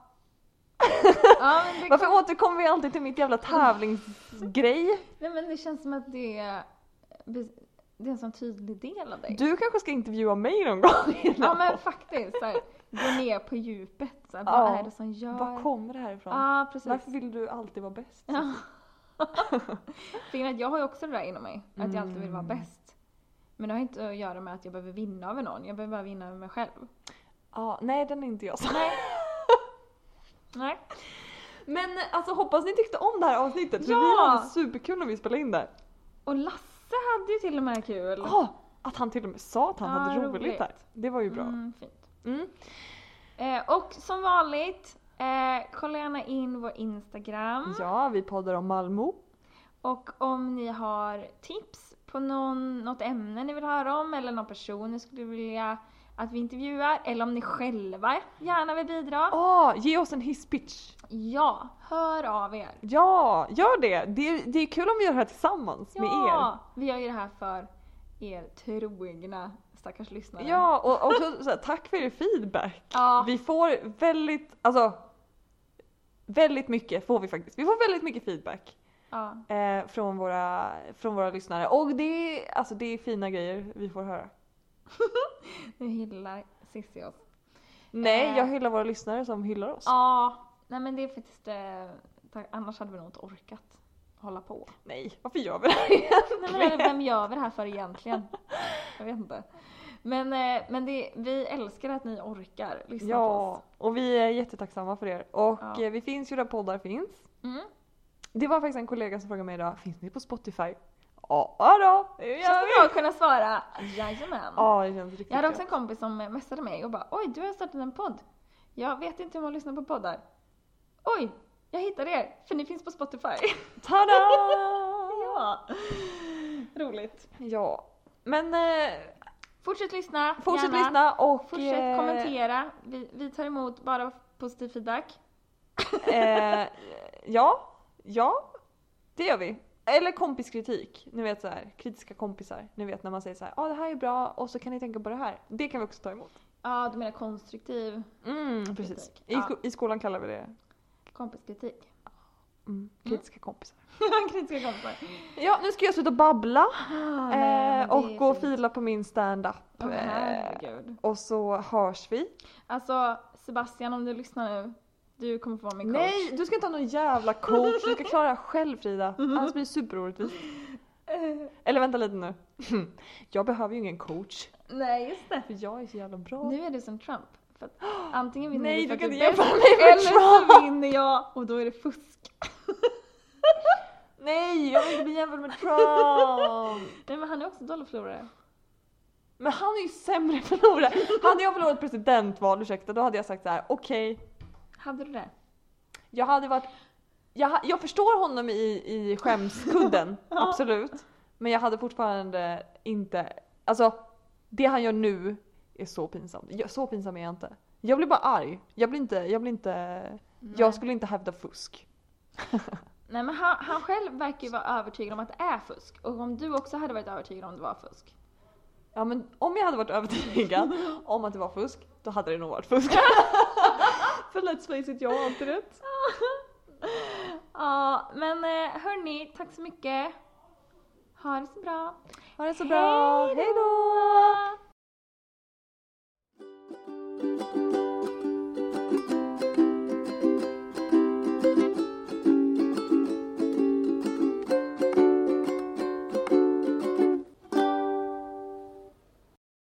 [SPEAKER 2] Ja, men det
[SPEAKER 3] Varför återkommer vi alltid till mitt jävla tävlingsgrej?
[SPEAKER 2] Nej men det känns som att det är, det är en sån tydlig del av dig.
[SPEAKER 3] Du kanske ska intervjua mig någon gång
[SPEAKER 2] ja
[SPEAKER 3] innan.
[SPEAKER 2] men faktiskt. Så här, gå ner på djupet. Så här,
[SPEAKER 3] Ja.
[SPEAKER 2] Vad är det som gör...
[SPEAKER 3] Var kommer det här ifrån?
[SPEAKER 2] Ja precis.
[SPEAKER 3] Varför vill du alltid vara bäst?
[SPEAKER 2] Ja. För att jag har ju också det där inom mig. Att jag alltid vill vara
[SPEAKER 3] Mm.
[SPEAKER 2] bäst. Men det har inte att göra med att jag behöver vinna över någon. Jag behöver bara vinna över mig själv.
[SPEAKER 3] Ja, nej den är inte jag.
[SPEAKER 2] Nej.
[SPEAKER 3] Men alltså hoppas ni tyckte om det här avsnittet för
[SPEAKER 2] Ja!
[SPEAKER 3] vi hade superkul när vi spelade in det.
[SPEAKER 2] Och Lasse hade ju till och med kul.
[SPEAKER 3] Ah, att han till och med sa att han
[SPEAKER 2] Ja,
[SPEAKER 3] hade roligt,
[SPEAKER 2] roligt.
[SPEAKER 3] där. Det var ju bra.
[SPEAKER 2] Mm, fint.
[SPEAKER 3] Mm.
[SPEAKER 2] Eh, och som vanligt, eh, kolla gärna in vår Instagram.
[SPEAKER 3] Ja, vi poddar om Malmö.
[SPEAKER 2] Och om ni har tips på någon, något ämne ni vill höra om eller någon person ni skulle vilja att vi intervjuar eller om ni själva gärna vill bidra.
[SPEAKER 3] Ah, ge oss en hisspitch.
[SPEAKER 2] Ja, hör av er.
[SPEAKER 3] Ja, gör det. det! Det är kul om vi gör det här tillsammans med er.
[SPEAKER 2] Vi gör ju det här för er trogna stackars lyssnare.
[SPEAKER 3] Ja, och också så här, tack för er feedback.
[SPEAKER 2] Ja.
[SPEAKER 3] Vi får väldigt, alltså väldigt mycket får vi faktiskt. Vi får väldigt mycket feedback.
[SPEAKER 2] ja.
[SPEAKER 3] eh, från, våra, från våra lyssnare. Och det är, alltså, det är fina grejer vi får höra.
[SPEAKER 2] Nu hyllar Cissi oss.
[SPEAKER 3] Nej,
[SPEAKER 2] Eh.
[SPEAKER 3] jag hyllar våra lyssnare som hyllar oss.
[SPEAKER 2] Ja, nej men det är faktiskt, eh, tack, annars hade vi nog inte orkat hålla på.
[SPEAKER 3] Nej, varför gör vi det här?
[SPEAKER 2] Nej, men eller vem gör vi det här för egentligen? Jag vet inte. Men, eh, men det, vi älskar att ni orkar lyssna på
[SPEAKER 3] Ja,
[SPEAKER 2] oss.
[SPEAKER 3] och vi är jättetacksamma för er. Och
[SPEAKER 2] Ja.
[SPEAKER 3] eh, vi finns ju där poddar finns.
[SPEAKER 2] Mm.
[SPEAKER 3] Det var faktiskt en kollega som frågade mig idag, finns ni på Spotify? Ja då, det
[SPEAKER 2] Känns
[SPEAKER 3] gör
[SPEAKER 2] det bra
[SPEAKER 3] vi!
[SPEAKER 2] att kunna svara jajamän.
[SPEAKER 3] Ja, det känns riktigt
[SPEAKER 2] Jag hade också
[SPEAKER 3] gött.
[SPEAKER 2] en kompis som eh, messade mig och bara oj du har startat en podd. Jag vet inte hur man lyssnar på poddar. Oj, jag hittade er för ni finns på Spotify.
[SPEAKER 3] Tada!
[SPEAKER 2] ja, roligt.
[SPEAKER 3] ja, men eh,
[SPEAKER 2] Fortsätt lyssna.
[SPEAKER 3] fortsätt
[SPEAKER 2] gärna.
[SPEAKER 3] lyssna och...
[SPEAKER 2] Fortsätt
[SPEAKER 3] eh,
[SPEAKER 2] kommentera. Vi, vi tar emot bara positiv feedback.
[SPEAKER 3] Eh, ja, ja, det gör vi. Eller kompiskritik. Ni vet så här, kritiska kompisar. Ni vet när man säger så här, ja ah, det här är bra och så kan ni tänka på det här. Det kan vi också ta emot.
[SPEAKER 2] Ja, du menar konstruktiv
[SPEAKER 3] Mm, precis.
[SPEAKER 2] Kritik,
[SPEAKER 3] I,
[SPEAKER 2] ja.
[SPEAKER 3] sko- I skolan kallar vi det
[SPEAKER 2] kompiskritik.
[SPEAKER 3] mm, kritiska kompisar.
[SPEAKER 2] Kritiska kompisar.
[SPEAKER 3] Ja, nu ska jag sluta babbla
[SPEAKER 2] Ah,
[SPEAKER 3] eh,
[SPEAKER 2] nej, men det
[SPEAKER 3] och
[SPEAKER 2] är
[SPEAKER 3] gå och
[SPEAKER 2] fint.
[SPEAKER 3] fila på min stand-up.
[SPEAKER 2] Åh,
[SPEAKER 3] eh,
[SPEAKER 2] herregud.
[SPEAKER 3] och så hörs vi.
[SPEAKER 2] Alltså Sebastian om du lyssnar nu, du kommer få vara min coach.
[SPEAKER 3] Nej, du ska inte ha någon jävla coach. Du ska klara det här själv Frida.
[SPEAKER 2] Mm-hmm.
[SPEAKER 3] Annars blir det superorättvist. Eller vänta lite nu. Jag behöver ju ingen coach.
[SPEAKER 2] Nej, just det.
[SPEAKER 3] För jag är så jävla bra.
[SPEAKER 2] Nu är du som Trump. För att antingen vinner
[SPEAKER 3] Nej,
[SPEAKER 2] du för
[SPEAKER 3] du
[SPEAKER 2] att
[SPEAKER 3] kan
[SPEAKER 2] du
[SPEAKER 3] inte
[SPEAKER 2] är bäst,
[SPEAKER 3] jämföra mig med
[SPEAKER 2] eller så vinner jag och då är det fusk.
[SPEAKER 3] Nej, jag vill inte bli jämförd med Trump!
[SPEAKER 2] Nej men han är också dålig förlorare.
[SPEAKER 3] Men han är ju sämre förlorare. Hade jag förlorat presidentval, ursäkta, då hade jag sagt så här: okej,
[SPEAKER 2] Hade du det?
[SPEAKER 3] jag hade varit... Jag, ha- jag förstår honom i, i skämskudden, absolut. Men jag hade fortfarande inte... Alltså, det han gör nu är så pinsamt. Jag, så pinsam är jag inte. Jag blir bara arg. Jag blir inte... Jag, blir inte, jag skulle inte hävda fusk.
[SPEAKER 2] Nej men han, han själv verkar ju vara övertygad om att det är fusk. Och om du också hade varit övertygad om det var fusk.
[SPEAKER 3] Ja men om jag hade varit övertygad om att det var fusk, då hade det nog varit fusk. För let's face it, jag har alltid rätt.
[SPEAKER 2] Ja men eh, hörni, tack så mycket. Ha det så bra.
[SPEAKER 3] Ha det så bra, hejdå!